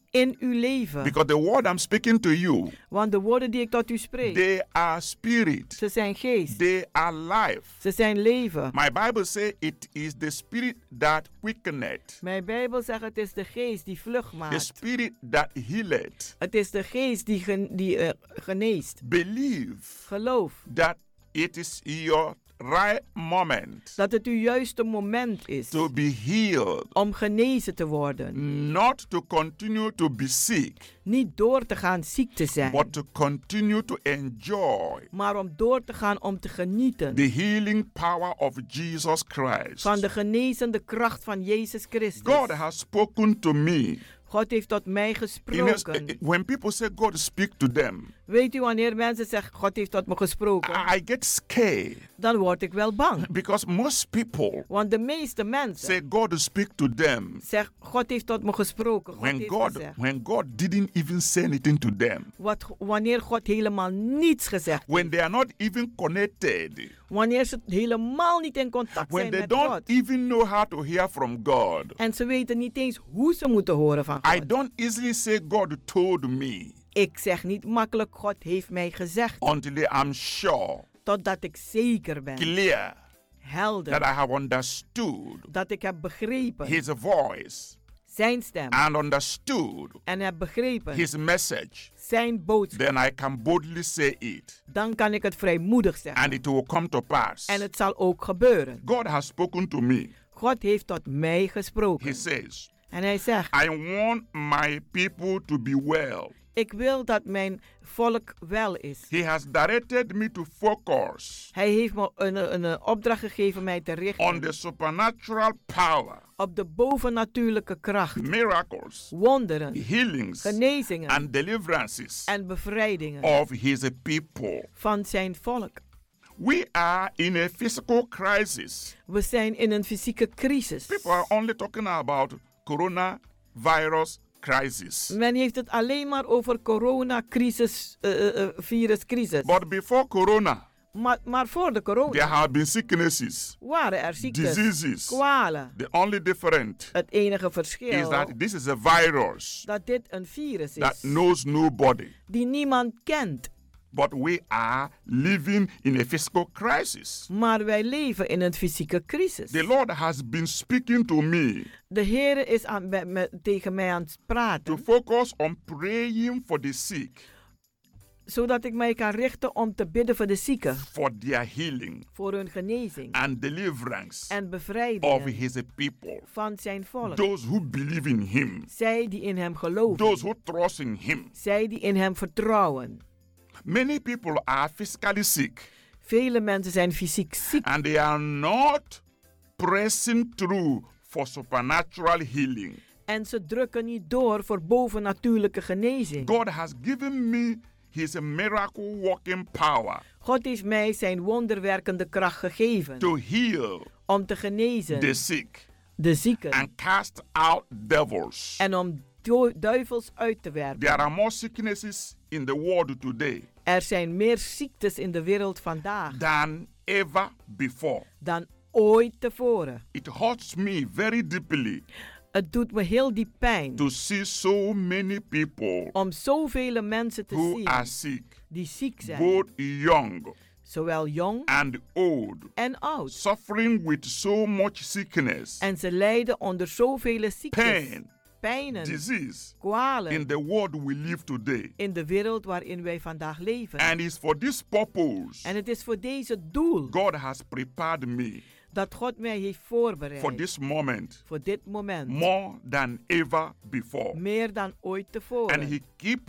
[SPEAKER 9] in uw leven.
[SPEAKER 7] Because the word I'm speaking to you,
[SPEAKER 9] Want de woorden die ik tot u spreek,
[SPEAKER 7] they are spirit,
[SPEAKER 9] ze zijn geest,
[SPEAKER 7] they are life.
[SPEAKER 9] ze zijn leven.
[SPEAKER 7] My Bible says it is the spirit that quickeneth,
[SPEAKER 9] Mijn Bijbel zegt het is de geest die vlug
[SPEAKER 7] the
[SPEAKER 9] maakt.
[SPEAKER 7] spirit that healeth.
[SPEAKER 9] Het is de geest die, gen- die eh, geneest.
[SPEAKER 7] Believe
[SPEAKER 9] Geloof
[SPEAKER 7] that it is your right moment
[SPEAKER 9] dat het uw juiste moment is
[SPEAKER 7] to be healed,
[SPEAKER 9] om genezen te worden.
[SPEAKER 7] not to continue to be sick,
[SPEAKER 9] Niet door te gaan ziek te zijn,
[SPEAKER 7] but to continue to enjoy
[SPEAKER 9] maar om door te gaan om te genieten
[SPEAKER 7] the healing power of Jesus Christ.
[SPEAKER 9] van de genezende kracht van Jezus Christus.
[SPEAKER 7] God has spoken to me
[SPEAKER 9] God heeft tot mij
[SPEAKER 7] Ines,
[SPEAKER 9] gesproken.
[SPEAKER 7] eh, eh, when people say God speak to them,
[SPEAKER 9] Weet u wanneer mensen zeggen God heeft tot me gesproken?
[SPEAKER 7] I get scared.
[SPEAKER 9] Dan word ik wel bang.
[SPEAKER 7] Because most people
[SPEAKER 9] Want de meeste mensen
[SPEAKER 7] say God speak to them
[SPEAKER 9] zeggen God heeft tot me gesproken. God
[SPEAKER 7] when
[SPEAKER 9] heeft
[SPEAKER 7] God
[SPEAKER 9] gezegd.
[SPEAKER 7] when God didn't even say anything to them.
[SPEAKER 9] Wat, wanneer God helemaal niets gezegd
[SPEAKER 7] When they are not even connected.
[SPEAKER 9] Wanneer ze helemaal niet in contact
[SPEAKER 7] When
[SPEAKER 9] zijn
[SPEAKER 7] they
[SPEAKER 9] met
[SPEAKER 7] don't
[SPEAKER 9] God.
[SPEAKER 7] even know how to hear from God.
[SPEAKER 9] En ze weten niet eens hoe ze moeten horen van God.
[SPEAKER 7] I don't easily say God told me
[SPEAKER 9] Ik zeg niet makkelijk God heeft mij gezegd.
[SPEAKER 7] until I'm sure,
[SPEAKER 9] Totdat ik zeker ben.
[SPEAKER 7] clear that I
[SPEAKER 9] Helder.
[SPEAKER 7] have understood
[SPEAKER 9] Dat ik heb begrepen
[SPEAKER 7] his voice
[SPEAKER 9] zijn stem.
[SPEAKER 7] and understood
[SPEAKER 9] En heb
[SPEAKER 7] his
[SPEAKER 9] begrepen
[SPEAKER 7] message.
[SPEAKER 9] zijn boodschap.
[SPEAKER 7] Then I can boldly say it
[SPEAKER 9] Dan kan ik het vrijmoedig zeggen.
[SPEAKER 7] and it will come to pass.
[SPEAKER 9] En het zal ook gebeuren.
[SPEAKER 7] God has spoken to me.
[SPEAKER 9] God heeft tot mij gesproken.
[SPEAKER 7] He says,
[SPEAKER 9] En hij zegt,
[SPEAKER 7] I want my people to be well.
[SPEAKER 9] ik wil dat mijn volk wel is.
[SPEAKER 7] He has directed me to focus
[SPEAKER 9] Hij heeft me een, een, een opdracht gegeven mij te richten
[SPEAKER 7] on the supernatural power,
[SPEAKER 9] op de bovennatuurlijke kracht,
[SPEAKER 7] miracles,
[SPEAKER 9] wonderen,
[SPEAKER 7] healings,
[SPEAKER 9] genezingen
[SPEAKER 7] and deliverances
[SPEAKER 9] en bevrijdingen
[SPEAKER 7] of his people.
[SPEAKER 9] van zijn volk.
[SPEAKER 7] We are in a physical crisis.
[SPEAKER 9] We zijn in een fysieke crisis.
[SPEAKER 7] People are only talking about coronavirus crisis.
[SPEAKER 9] Men heeft het alleen maar over coronacrisis, eh, eh, eh, viruscrisis.
[SPEAKER 7] But before corona,
[SPEAKER 9] Maar, maar voor de
[SPEAKER 7] there
[SPEAKER 9] corona
[SPEAKER 7] have been sicknesses.
[SPEAKER 9] waren er ziektes,
[SPEAKER 7] diseases.
[SPEAKER 9] kwalen.
[SPEAKER 7] The only difference
[SPEAKER 9] Het enige verschil
[SPEAKER 7] is that this is a virus
[SPEAKER 9] dat dit een virus
[SPEAKER 7] that
[SPEAKER 9] is
[SPEAKER 7] knows nobody.
[SPEAKER 9] die niemand kent.
[SPEAKER 7] But we are living in a physical crisis.
[SPEAKER 9] Maar wij leven in een fysieke crisis.
[SPEAKER 7] The Lord has been speaking to me
[SPEAKER 9] De Heer is aan, met- met- tegen mij aan het praten,
[SPEAKER 7] to focus on praying for the sick,
[SPEAKER 9] zodat ik mij kan richten om te bidden voor de zieken,
[SPEAKER 7] for their healing
[SPEAKER 9] voor hun genezing
[SPEAKER 7] and deliverance
[SPEAKER 9] en
[SPEAKER 7] of
[SPEAKER 9] bevrijding
[SPEAKER 7] His people.
[SPEAKER 9] van zijn volk.
[SPEAKER 7] Those who believe in Him,
[SPEAKER 9] Zij die in hem geloven,
[SPEAKER 7] those who trust in Him.
[SPEAKER 9] zij die in hem vertrouwen.
[SPEAKER 7] Many people are physically sick
[SPEAKER 9] Vele mensen zijn fysiek ziek
[SPEAKER 7] and they are not pressing through for supernatural healing.
[SPEAKER 9] en ze drukken niet door voor bovennatuurlijke genezing.
[SPEAKER 7] God has given me His miracle working power
[SPEAKER 9] God heeft mij zijn wonderwerkende kracht gegeven
[SPEAKER 7] to heal
[SPEAKER 9] om te genezen
[SPEAKER 7] the sick
[SPEAKER 9] de zieken
[SPEAKER 7] and cast out devils.
[SPEAKER 9] en om du- duivels uit te werpen.
[SPEAKER 7] There are more sicknesses in the world today
[SPEAKER 9] Er zijn meer ziektes in de wereld vandaag
[SPEAKER 7] than ever before.
[SPEAKER 9] dan ooit tevoren.
[SPEAKER 7] It hurts me very deeply
[SPEAKER 9] Het doet me heel diep pijn
[SPEAKER 7] to see so many people
[SPEAKER 9] om zoveel mensen te
[SPEAKER 7] who are
[SPEAKER 9] zien
[SPEAKER 7] sick,
[SPEAKER 9] die ziek zijn,
[SPEAKER 7] both young
[SPEAKER 9] zowel jong
[SPEAKER 7] and old,
[SPEAKER 9] en oud.
[SPEAKER 7] suffering with so much sickness,
[SPEAKER 9] En ze lijden onder zoveel ziektes,
[SPEAKER 7] pain,
[SPEAKER 9] pijnen,
[SPEAKER 7] disease in
[SPEAKER 9] kwalen
[SPEAKER 7] the world we live today.
[SPEAKER 9] in de wereld waarin wij vandaag leven.
[SPEAKER 7] And it's for this purpose
[SPEAKER 9] En het is voor deze doel
[SPEAKER 7] God has prepared me
[SPEAKER 9] dat God mij heeft
[SPEAKER 7] for
[SPEAKER 9] voorbereid
[SPEAKER 7] this moment
[SPEAKER 9] voor dit moment,
[SPEAKER 7] more than ever before.
[SPEAKER 9] meer dan ooit
[SPEAKER 7] And
[SPEAKER 9] tevoren.
[SPEAKER 7] He keep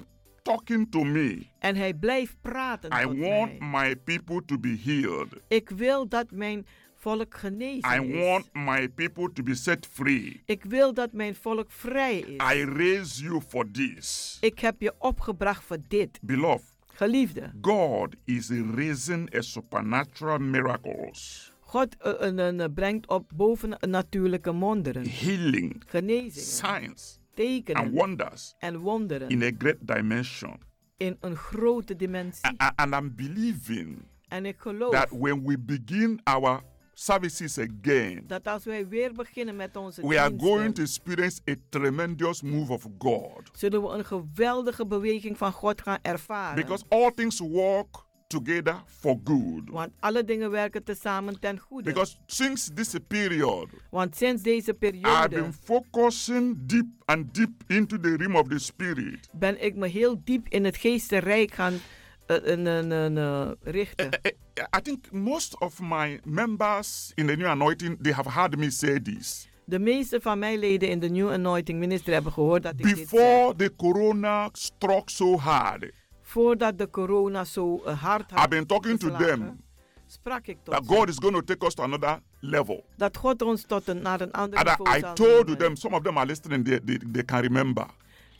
[SPEAKER 7] talking to me.
[SPEAKER 9] En hij blijft praten
[SPEAKER 7] I
[SPEAKER 9] tot mij.
[SPEAKER 7] want my people to be healed.
[SPEAKER 9] Ik wil dat mijn volk genezen
[SPEAKER 7] I
[SPEAKER 9] is.
[SPEAKER 7] want my people to be set free.
[SPEAKER 9] Ik wil dat mijn volk vrij is.
[SPEAKER 7] I raise you for this.
[SPEAKER 9] Ik heb je opgebracht voor dit.
[SPEAKER 7] Beloved,
[SPEAKER 9] Geliefde,
[SPEAKER 7] God is raising a supernatural miracles,
[SPEAKER 9] God eh, eh, eh, eh, brengt op bovennatuurlijke wonderen,
[SPEAKER 7] healing,
[SPEAKER 9] genezingen,
[SPEAKER 7] signs, and
[SPEAKER 9] tekenen
[SPEAKER 7] wonders
[SPEAKER 9] en wonderen
[SPEAKER 7] in a great dimension.
[SPEAKER 9] in een grote dimensie.
[SPEAKER 7] A- And I'm believing
[SPEAKER 9] En ik geloof
[SPEAKER 7] that when we begin our services again,
[SPEAKER 9] dat als wij weer beginnen met onze
[SPEAKER 7] we are going to
[SPEAKER 9] diensten,
[SPEAKER 7] experience a tremendous move of God
[SPEAKER 9] zullen we een geweldige beweging van God gaan ervaren.
[SPEAKER 7] because all things work together for good.
[SPEAKER 9] Want alle dingen werken tezamen ten goede.
[SPEAKER 7] Because since this period,
[SPEAKER 9] Want sinds deze
[SPEAKER 7] I've
[SPEAKER 9] periode
[SPEAKER 7] been focusing deep and deep into the realm of the spirit.
[SPEAKER 9] ben ik me heel diep in het geestenrijk gaan eh, eh, eh, eh, eh, richten.
[SPEAKER 7] Eh, I think most of my members in the new anointing they have heard me say this
[SPEAKER 9] De meeste van mijn leden in de New Anointing Ministry hebben gehoord dat ik dit zei.
[SPEAKER 7] before the corona struck so hard.
[SPEAKER 9] Voordat de corona zo eh, hard had
[SPEAKER 7] I've been talking to
[SPEAKER 9] geslagen,
[SPEAKER 7] them
[SPEAKER 9] sprak ik tot
[SPEAKER 7] that
[SPEAKER 9] ze.
[SPEAKER 7] God is going to take us to another level.
[SPEAKER 9] Dat God ons tot een, naar een ander
[SPEAKER 7] And I,
[SPEAKER 9] niveau
[SPEAKER 7] I
[SPEAKER 9] zal
[SPEAKER 7] told
[SPEAKER 9] nemen.
[SPEAKER 7] them, some of them are listening, they, they, they can remember.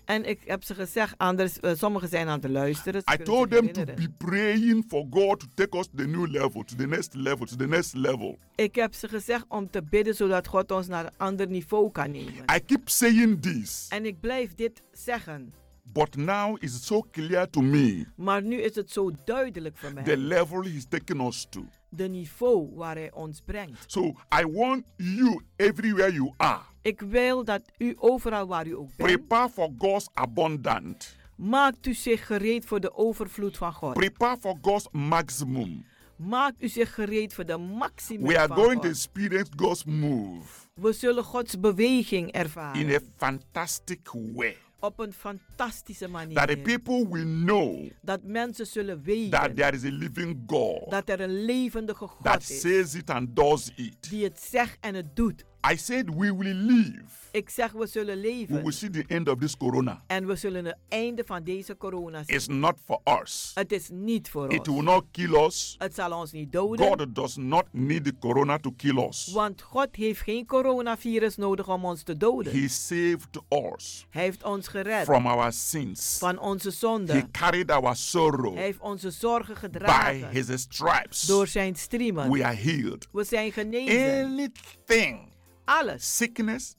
[SPEAKER 9] En ik heb ze gezegd, anders, eh, sommigen zijn aan het luisteren. ze
[SPEAKER 7] I
[SPEAKER 9] kunnen zich
[SPEAKER 7] told them to
[SPEAKER 9] herinneren.
[SPEAKER 7] be praying for God to take us to the new level, to the next level, to the next level.
[SPEAKER 9] Ik heb ze gezegd om te bidden zodat God ons naar een ander niveau kan nemen.
[SPEAKER 7] I keep saying this,
[SPEAKER 9] En ik blijf dit zeggen.
[SPEAKER 7] but now it's so clear to me
[SPEAKER 9] Maar nu is het zo duidelijk voor mij.
[SPEAKER 7] the level He's taking us to.
[SPEAKER 9] de niveau waar hij ons brengt.
[SPEAKER 7] So I want you, everywhere you are,
[SPEAKER 9] Ik wil dat u overal waar u ook bent,
[SPEAKER 7] prepare for God's abundant,
[SPEAKER 9] maakt u zich gereed voor de overvloed van God.
[SPEAKER 7] prepare for God's maximum.
[SPEAKER 9] Maakt u zich gereed voor de maximum
[SPEAKER 7] We are
[SPEAKER 9] van
[SPEAKER 7] going to
[SPEAKER 9] God.
[SPEAKER 7] experience God's move
[SPEAKER 9] We zullen Gods beweging ervaren
[SPEAKER 7] in a fantastic way
[SPEAKER 9] op een fantastische
[SPEAKER 7] that the
[SPEAKER 9] manier.
[SPEAKER 7] people will know
[SPEAKER 9] Dat mensen zullen weten
[SPEAKER 7] that there is a living God
[SPEAKER 9] dat er een levendige God
[SPEAKER 7] that
[SPEAKER 9] is
[SPEAKER 7] says it and does it.
[SPEAKER 9] die het zegt en het doet.
[SPEAKER 7] I said we will live.
[SPEAKER 9] Ik zeg, we zullen
[SPEAKER 7] We
[SPEAKER 9] leven
[SPEAKER 7] will see the end of this corona.
[SPEAKER 9] en we zullen het einde van deze corona zien.
[SPEAKER 7] It's not for us.
[SPEAKER 9] Het is niet voor
[SPEAKER 7] It
[SPEAKER 9] ons.
[SPEAKER 7] will not kill us.
[SPEAKER 9] Het zal ons niet doden.
[SPEAKER 7] God does not need the corona to kill us.
[SPEAKER 9] Want God heeft geen coronavirus nodig om ons te doden.
[SPEAKER 7] He saved us
[SPEAKER 9] Hij heeft ons gered
[SPEAKER 7] from our sins.
[SPEAKER 9] van onze
[SPEAKER 7] He
[SPEAKER 9] zonden.
[SPEAKER 7] carried our
[SPEAKER 9] Hij
[SPEAKER 7] sorrow
[SPEAKER 9] heeft onze zorgen
[SPEAKER 7] by
[SPEAKER 9] gedragen
[SPEAKER 7] his stripes.
[SPEAKER 9] door zijn striemen.
[SPEAKER 7] We are healed.
[SPEAKER 9] We zijn genezen.
[SPEAKER 7] Anything,
[SPEAKER 9] Alles.
[SPEAKER 7] sickness,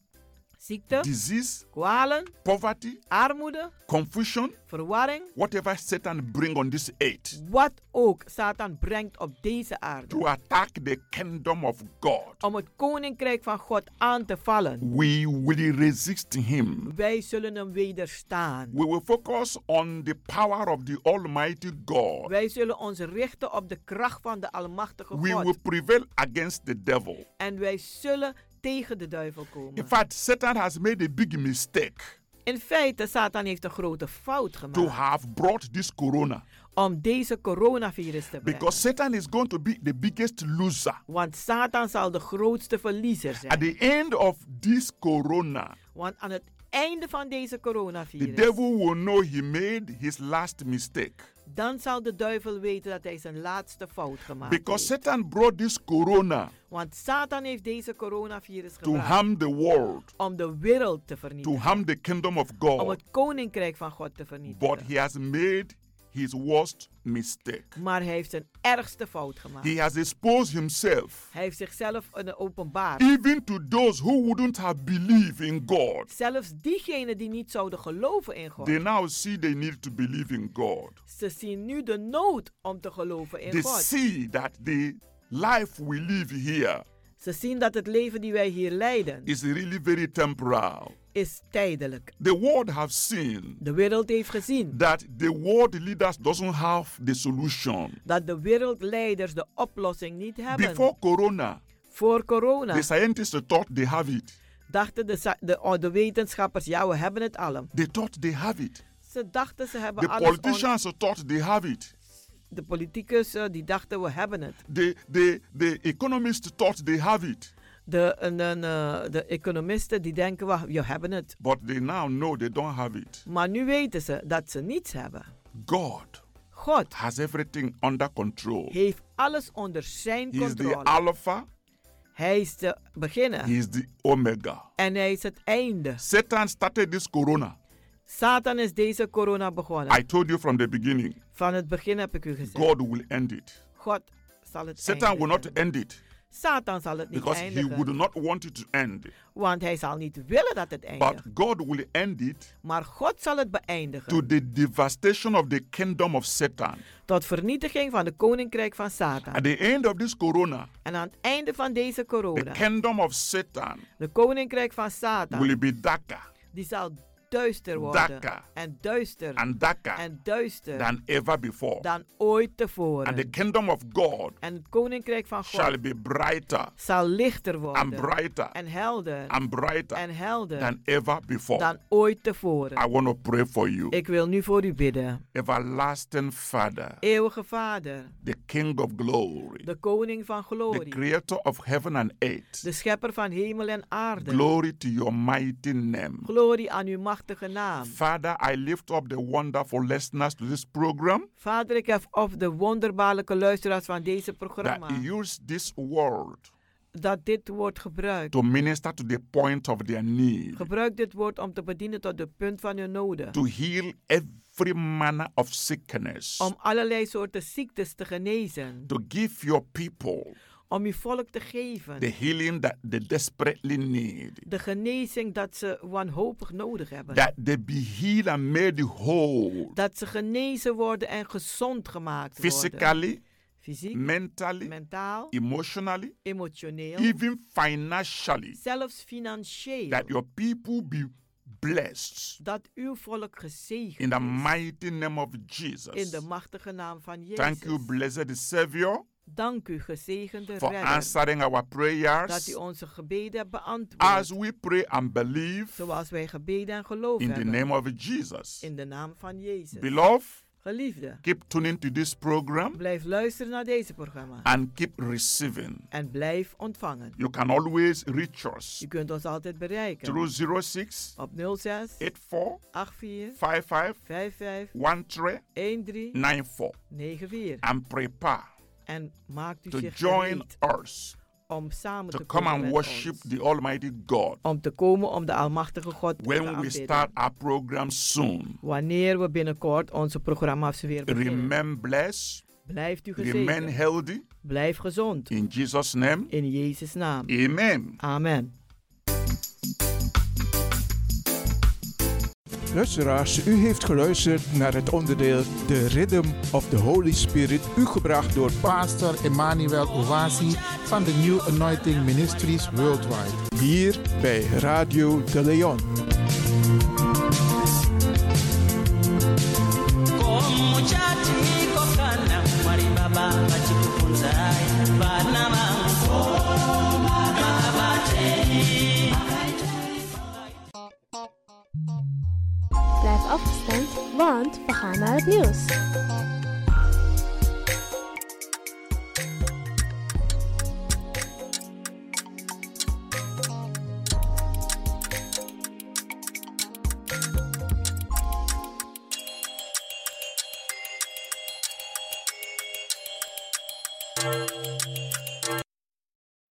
[SPEAKER 9] Ziekte,
[SPEAKER 7] disease,
[SPEAKER 9] kwalen,
[SPEAKER 7] poverty,
[SPEAKER 9] armoede,
[SPEAKER 7] confusion,
[SPEAKER 9] verwarring.
[SPEAKER 7] whatever Satan bring on this earth
[SPEAKER 9] Wat ook Satan brengt op deze aarde.
[SPEAKER 7] to attack the kingdom of God,
[SPEAKER 9] Om het koninkrijk van God aan te vallen.
[SPEAKER 7] we will resist him.
[SPEAKER 9] Wij zullen hem wederstaan.
[SPEAKER 7] We will focus on the power of the Almighty God.
[SPEAKER 9] Wij zullen ons richten op de kracht van de Almachtige
[SPEAKER 7] We will
[SPEAKER 9] God.
[SPEAKER 7] prevail against the devil.
[SPEAKER 9] En wij zullen tegen de duivel
[SPEAKER 7] In
[SPEAKER 9] komen.
[SPEAKER 7] fact, Satan has made a big mistake
[SPEAKER 9] In feite, Satan heeft een grote fout
[SPEAKER 7] to
[SPEAKER 9] gemaakt
[SPEAKER 7] have brought this corona
[SPEAKER 9] om deze coronavirus te brengen.
[SPEAKER 7] because Satan is going to be the biggest loser.
[SPEAKER 9] Want Satan zal de grootste verliezer
[SPEAKER 7] At
[SPEAKER 9] zijn.
[SPEAKER 7] the end of this corona,
[SPEAKER 9] Want aan het einde van deze
[SPEAKER 7] the
[SPEAKER 9] coronavirus,
[SPEAKER 7] devil will know he made his last mistake
[SPEAKER 9] dan zal de duivel weten dat hij zijn laatste fout gemaakt
[SPEAKER 7] because
[SPEAKER 9] heeft.
[SPEAKER 7] Satan brought this corona
[SPEAKER 9] Want Satan heeft deze coronavirus
[SPEAKER 7] to
[SPEAKER 9] gebruikt
[SPEAKER 7] harm the world,
[SPEAKER 9] om de wereld te
[SPEAKER 7] to
[SPEAKER 9] vernietigen.
[SPEAKER 7] harm the kingdom of
[SPEAKER 9] Om
[SPEAKER 7] God.
[SPEAKER 9] het koninkrijk van God te vernietigen.
[SPEAKER 7] But he has made his worst mistake.
[SPEAKER 9] Maar hij heeft zijn ergste fout gemaakt.
[SPEAKER 7] He has exposed himself
[SPEAKER 9] Hij heeft zichzelf een openbaar.
[SPEAKER 7] even to those who wouldn't have believed in God.
[SPEAKER 9] Zelfs diegenen die niet zouden geloven in God.
[SPEAKER 7] They now see they need to believe in God.
[SPEAKER 9] Ze zien nu de nood om te geloven in
[SPEAKER 7] They
[SPEAKER 9] God.
[SPEAKER 7] see that the life we live here
[SPEAKER 9] Ze zien dat het leven die wij hier leiden
[SPEAKER 7] is really very temporal.
[SPEAKER 9] is tijdelijk.
[SPEAKER 7] The world have seen
[SPEAKER 9] De wereld heeft gezien
[SPEAKER 7] that the world leaders doesn't have the solution.
[SPEAKER 9] dat de wereldleiders de oplossing niet hebben.
[SPEAKER 7] Before corona,
[SPEAKER 9] Voor corona
[SPEAKER 7] the scientists thought they have it.
[SPEAKER 9] dachten de, sa- de, oh, de wetenschappers, ja we hebben het allen.
[SPEAKER 7] They thought they have it.
[SPEAKER 9] Ze dachten ze hebben
[SPEAKER 7] The
[SPEAKER 9] alles on.
[SPEAKER 7] politicians thought they have it.
[SPEAKER 9] De politicussen die dachten we hebben het.
[SPEAKER 7] The, the, the economists thought they have it.
[SPEAKER 9] De, en- en, eh, de economisten die denken we we hebben het.
[SPEAKER 7] But they now know they don't have it.
[SPEAKER 9] Maar nu weten ze dat ze niets hebben.
[SPEAKER 7] God
[SPEAKER 9] God
[SPEAKER 7] has everything under control.
[SPEAKER 9] heeft alles onder zijn
[SPEAKER 7] He is the
[SPEAKER 9] controle.
[SPEAKER 7] Alpha,
[SPEAKER 9] Hij is de
[SPEAKER 7] He
[SPEAKER 9] beginnen
[SPEAKER 7] is the Omega.
[SPEAKER 9] en hij is het einde.
[SPEAKER 7] Satan started this corona.
[SPEAKER 9] Satan is deze corona begonnen.
[SPEAKER 7] I told you from the beginning,
[SPEAKER 9] Van het begin heb ik u gezegd.
[SPEAKER 7] God will end it.
[SPEAKER 9] God zal het
[SPEAKER 7] Satan will not
[SPEAKER 9] eindigen.
[SPEAKER 7] end it
[SPEAKER 9] Satan zal het niet
[SPEAKER 7] because he
[SPEAKER 9] eindigen.
[SPEAKER 7] would not want it to end.
[SPEAKER 9] Want hij zal niet willen dat het eindigt.
[SPEAKER 7] But God will end it
[SPEAKER 9] Maar God zal het beëindigen.
[SPEAKER 7] to the devastation of the kingdom of Satan.
[SPEAKER 9] Tot vernietiging van het koninkrijk van
[SPEAKER 7] At
[SPEAKER 9] Satan.
[SPEAKER 7] the end of this corona,
[SPEAKER 9] En aan het einde van deze
[SPEAKER 7] the
[SPEAKER 9] corona.
[SPEAKER 7] kingdom of Satan
[SPEAKER 9] De koninkrijk van Satan.
[SPEAKER 7] will be darker
[SPEAKER 9] Die zal duister worden.
[SPEAKER 7] Darker.
[SPEAKER 9] En duister.
[SPEAKER 7] and uh, darker
[SPEAKER 9] En duister.
[SPEAKER 7] than ever before.
[SPEAKER 9] dan ooit
[SPEAKER 7] And the
[SPEAKER 9] tevoren.
[SPEAKER 7] kingdom of God
[SPEAKER 9] En het koninkrijk van
[SPEAKER 7] shall
[SPEAKER 9] God
[SPEAKER 7] be brighter
[SPEAKER 9] zal lichter
[SPEAKER 7] and
[SPEAKER 9] worden.
[SPEAKER 7] brighter
[SPEAKER 9] En helder.
[SPEAKER 7] and uh, brighter
[SPEAKER 9] En helder.
[SPEAKER 7] than ever before.
[SPEAKER 9] Dan ooit
[SPEAKER 7] I
[SPEAKER 9] tevoren.
[SPEAKER 7] want to pray for you.
[SPEAKER 9] Ik wil nu voor u bidden.
[SPEAKER 7] Everlasting Father,
[SPEAKER 9] Eeuwige Vader,
[SPEAKER 7] the King of glory,
[SPEAKER 9] de koning van
[SPEAKER 7] the
[SPEAKER 9] glorie,
[SPEAKER 7] creator of heaven and earth.
[SPEAKER 9] de schepper van hemel en aarde.
[SPEAKER 7] Glory to your mighty name.
[SPEAKER 9] Glorie aan uw machtige naam.
[SPEAKER 7] Father, I lift up the wonderful listeners to this program
[SPEAKER 9] Vader, ik heb op de wonderbaarlijke luisteraars van deze
[SPEAKER 7] that
[SPEAKER 9] programma
[SPEAKER 7] use this word
[SPEAKER 9] dat dit woord gebruikt.
[SPEAKER 7] to minister to the point of their need,
[SPEAKER 9] Gebruik dit woord om te bedienen tot de punt van je noden.
[SPEAKER 7] to heal every manner of sickness,
[SPEAKER 9] Om allerlei soorten ziektes te genezen.
[SPEAKER 7] to give your people
[SPEAKER 9] Om je volk te
[SPEAKER 7] the
[SPEAKER 9] geven.
[SPEAKER 7] healing that they desperately need,
[SPEAKER 9] De genezing dat ze wanhopig nodig hebben.
[SPEAKER 7] that they be healed and made whole
[SPEAKER 9] Dat ze genezen worden en gezond gemaakt worden.
[SPEAKER 7] physically,
[SPEAKER 9] Fysiek,
[SPEAKER 7] mentally,
[SPEAKER 9] mentaal,
[SPEAKER 7] emotionally,
[SPEAKER 9] emotioneel,
[SPEAKER 7] even financially,
[SPEAKER 9] zelfs financieel.
[SPEAKER 7] that your people be blessed
[SPEAKER 9] Dat uw volk
[SPEAKER 7] in
[SPEAKER 9] gezegend
[SPEAKER 7] the
[SPEAKER 9] is.
[SPEAKER 7] mighty name of
[SPEAKER 9] In
[SPEAKER 7] Jesus.
[SPEAKER 9] de machtige naam van Jezus.
[SPEAKER 7] Thank you, blessed Savior,
[SPEAKER 9] Dank u, gezegende
[SPEAKER 7] for
[SPEAKER 9] redder.
[SPEAKER 7] answering our
[SPEAKER 9] Dat u
[SPEAKER 7] prayers
[SPEAKER 9] onze gebeden beantwoordt.
[SPEAKER 7] as we pray and believe
[SPEAKER 9] Zoals wij gebeden en geloof
[SPEAKER 7] in the
[SPEAKER 9] hebben.
[SPEAKER 7] name of Jesus.
[SPEAKER 9] uh, oh, In de naam van Jezus.
[SPEAKER 7] Beloved,
[SPEAKER 9] Geliefde,
[SPEAKER 7] keep tuning to this program
[SPEAKER 9] blijf luisteren naar deze programma.
[SPEAKER 7] and keep receiving.
[SPEAKER 9] En blijf ontvangen.
[SPEAKER 7] You can always reach us
[SPEAKER 9] U kunt ons altijd bereiken.
[SPEAKER 7] through 06
[SPEAKER 9] Op 06 84
[SPEAKER 7] 84 55
[SPEAKER 9] 55 13
[SPEAKER 7] 94
[SPEAKER 9] 94.
[SPEAKER 7] and prepare
[SPEAKER 9] En maakt u
[SPEAKER 7] to
[SPEAKER 9] zich
[SPEAKER 7] join
[SPEAKER 9] gereed
[SPEAKER 7] us
[SPEAKER 9] om samen
[SPEAKER 7] to
[SPEAKER 9] te
[SPEAKER 7] come
[SPEAKER 9] komen
[SPEAKER 7] and
[SPEAKER 9] met
[SPEAKER 7] worship
[SPEAKER 9] ons.
[SPEAKER 7] the Almighty God
[SPEAKER 9] Om te komen om de Almachtige God te
[SPEAKER 7] when we
[SPEAKER 9] aanbidden.
[SPEAKER 7] start our program soon.
[SPEAKER 9] Wanneer we binnenkort onze programma's weer beginnen.
[SPEAKER 7] Remain blessed,
[SPEAKER 9] Blijft u
[SPEAKER 7] remain
[SPEAKER 9] gezegend.
[SPEAKER 7] healthy
[SPEAKER 9] Blijf gezond.
[SPEAKER 7] in Jesus' name.
[SPEAKER 9] In Jezus' naam.
[SPEAKER 7] Amen.
[SPEAKER 9] Amen.
[SPEAKER 2] Luisteraars, u heeft geluisterd naar het onderdeel The Rhythm of the Holy Spirit, u gebracht door
[SPEAKER 4] Pastor Emmanuel Owasi van de New Anointing Ministries Worldwide.
[SPEAKER 2] hier bij Radio de Leon.
[SPEAKER 13] Blijf afgestemd, want we gaan naar het nieuws.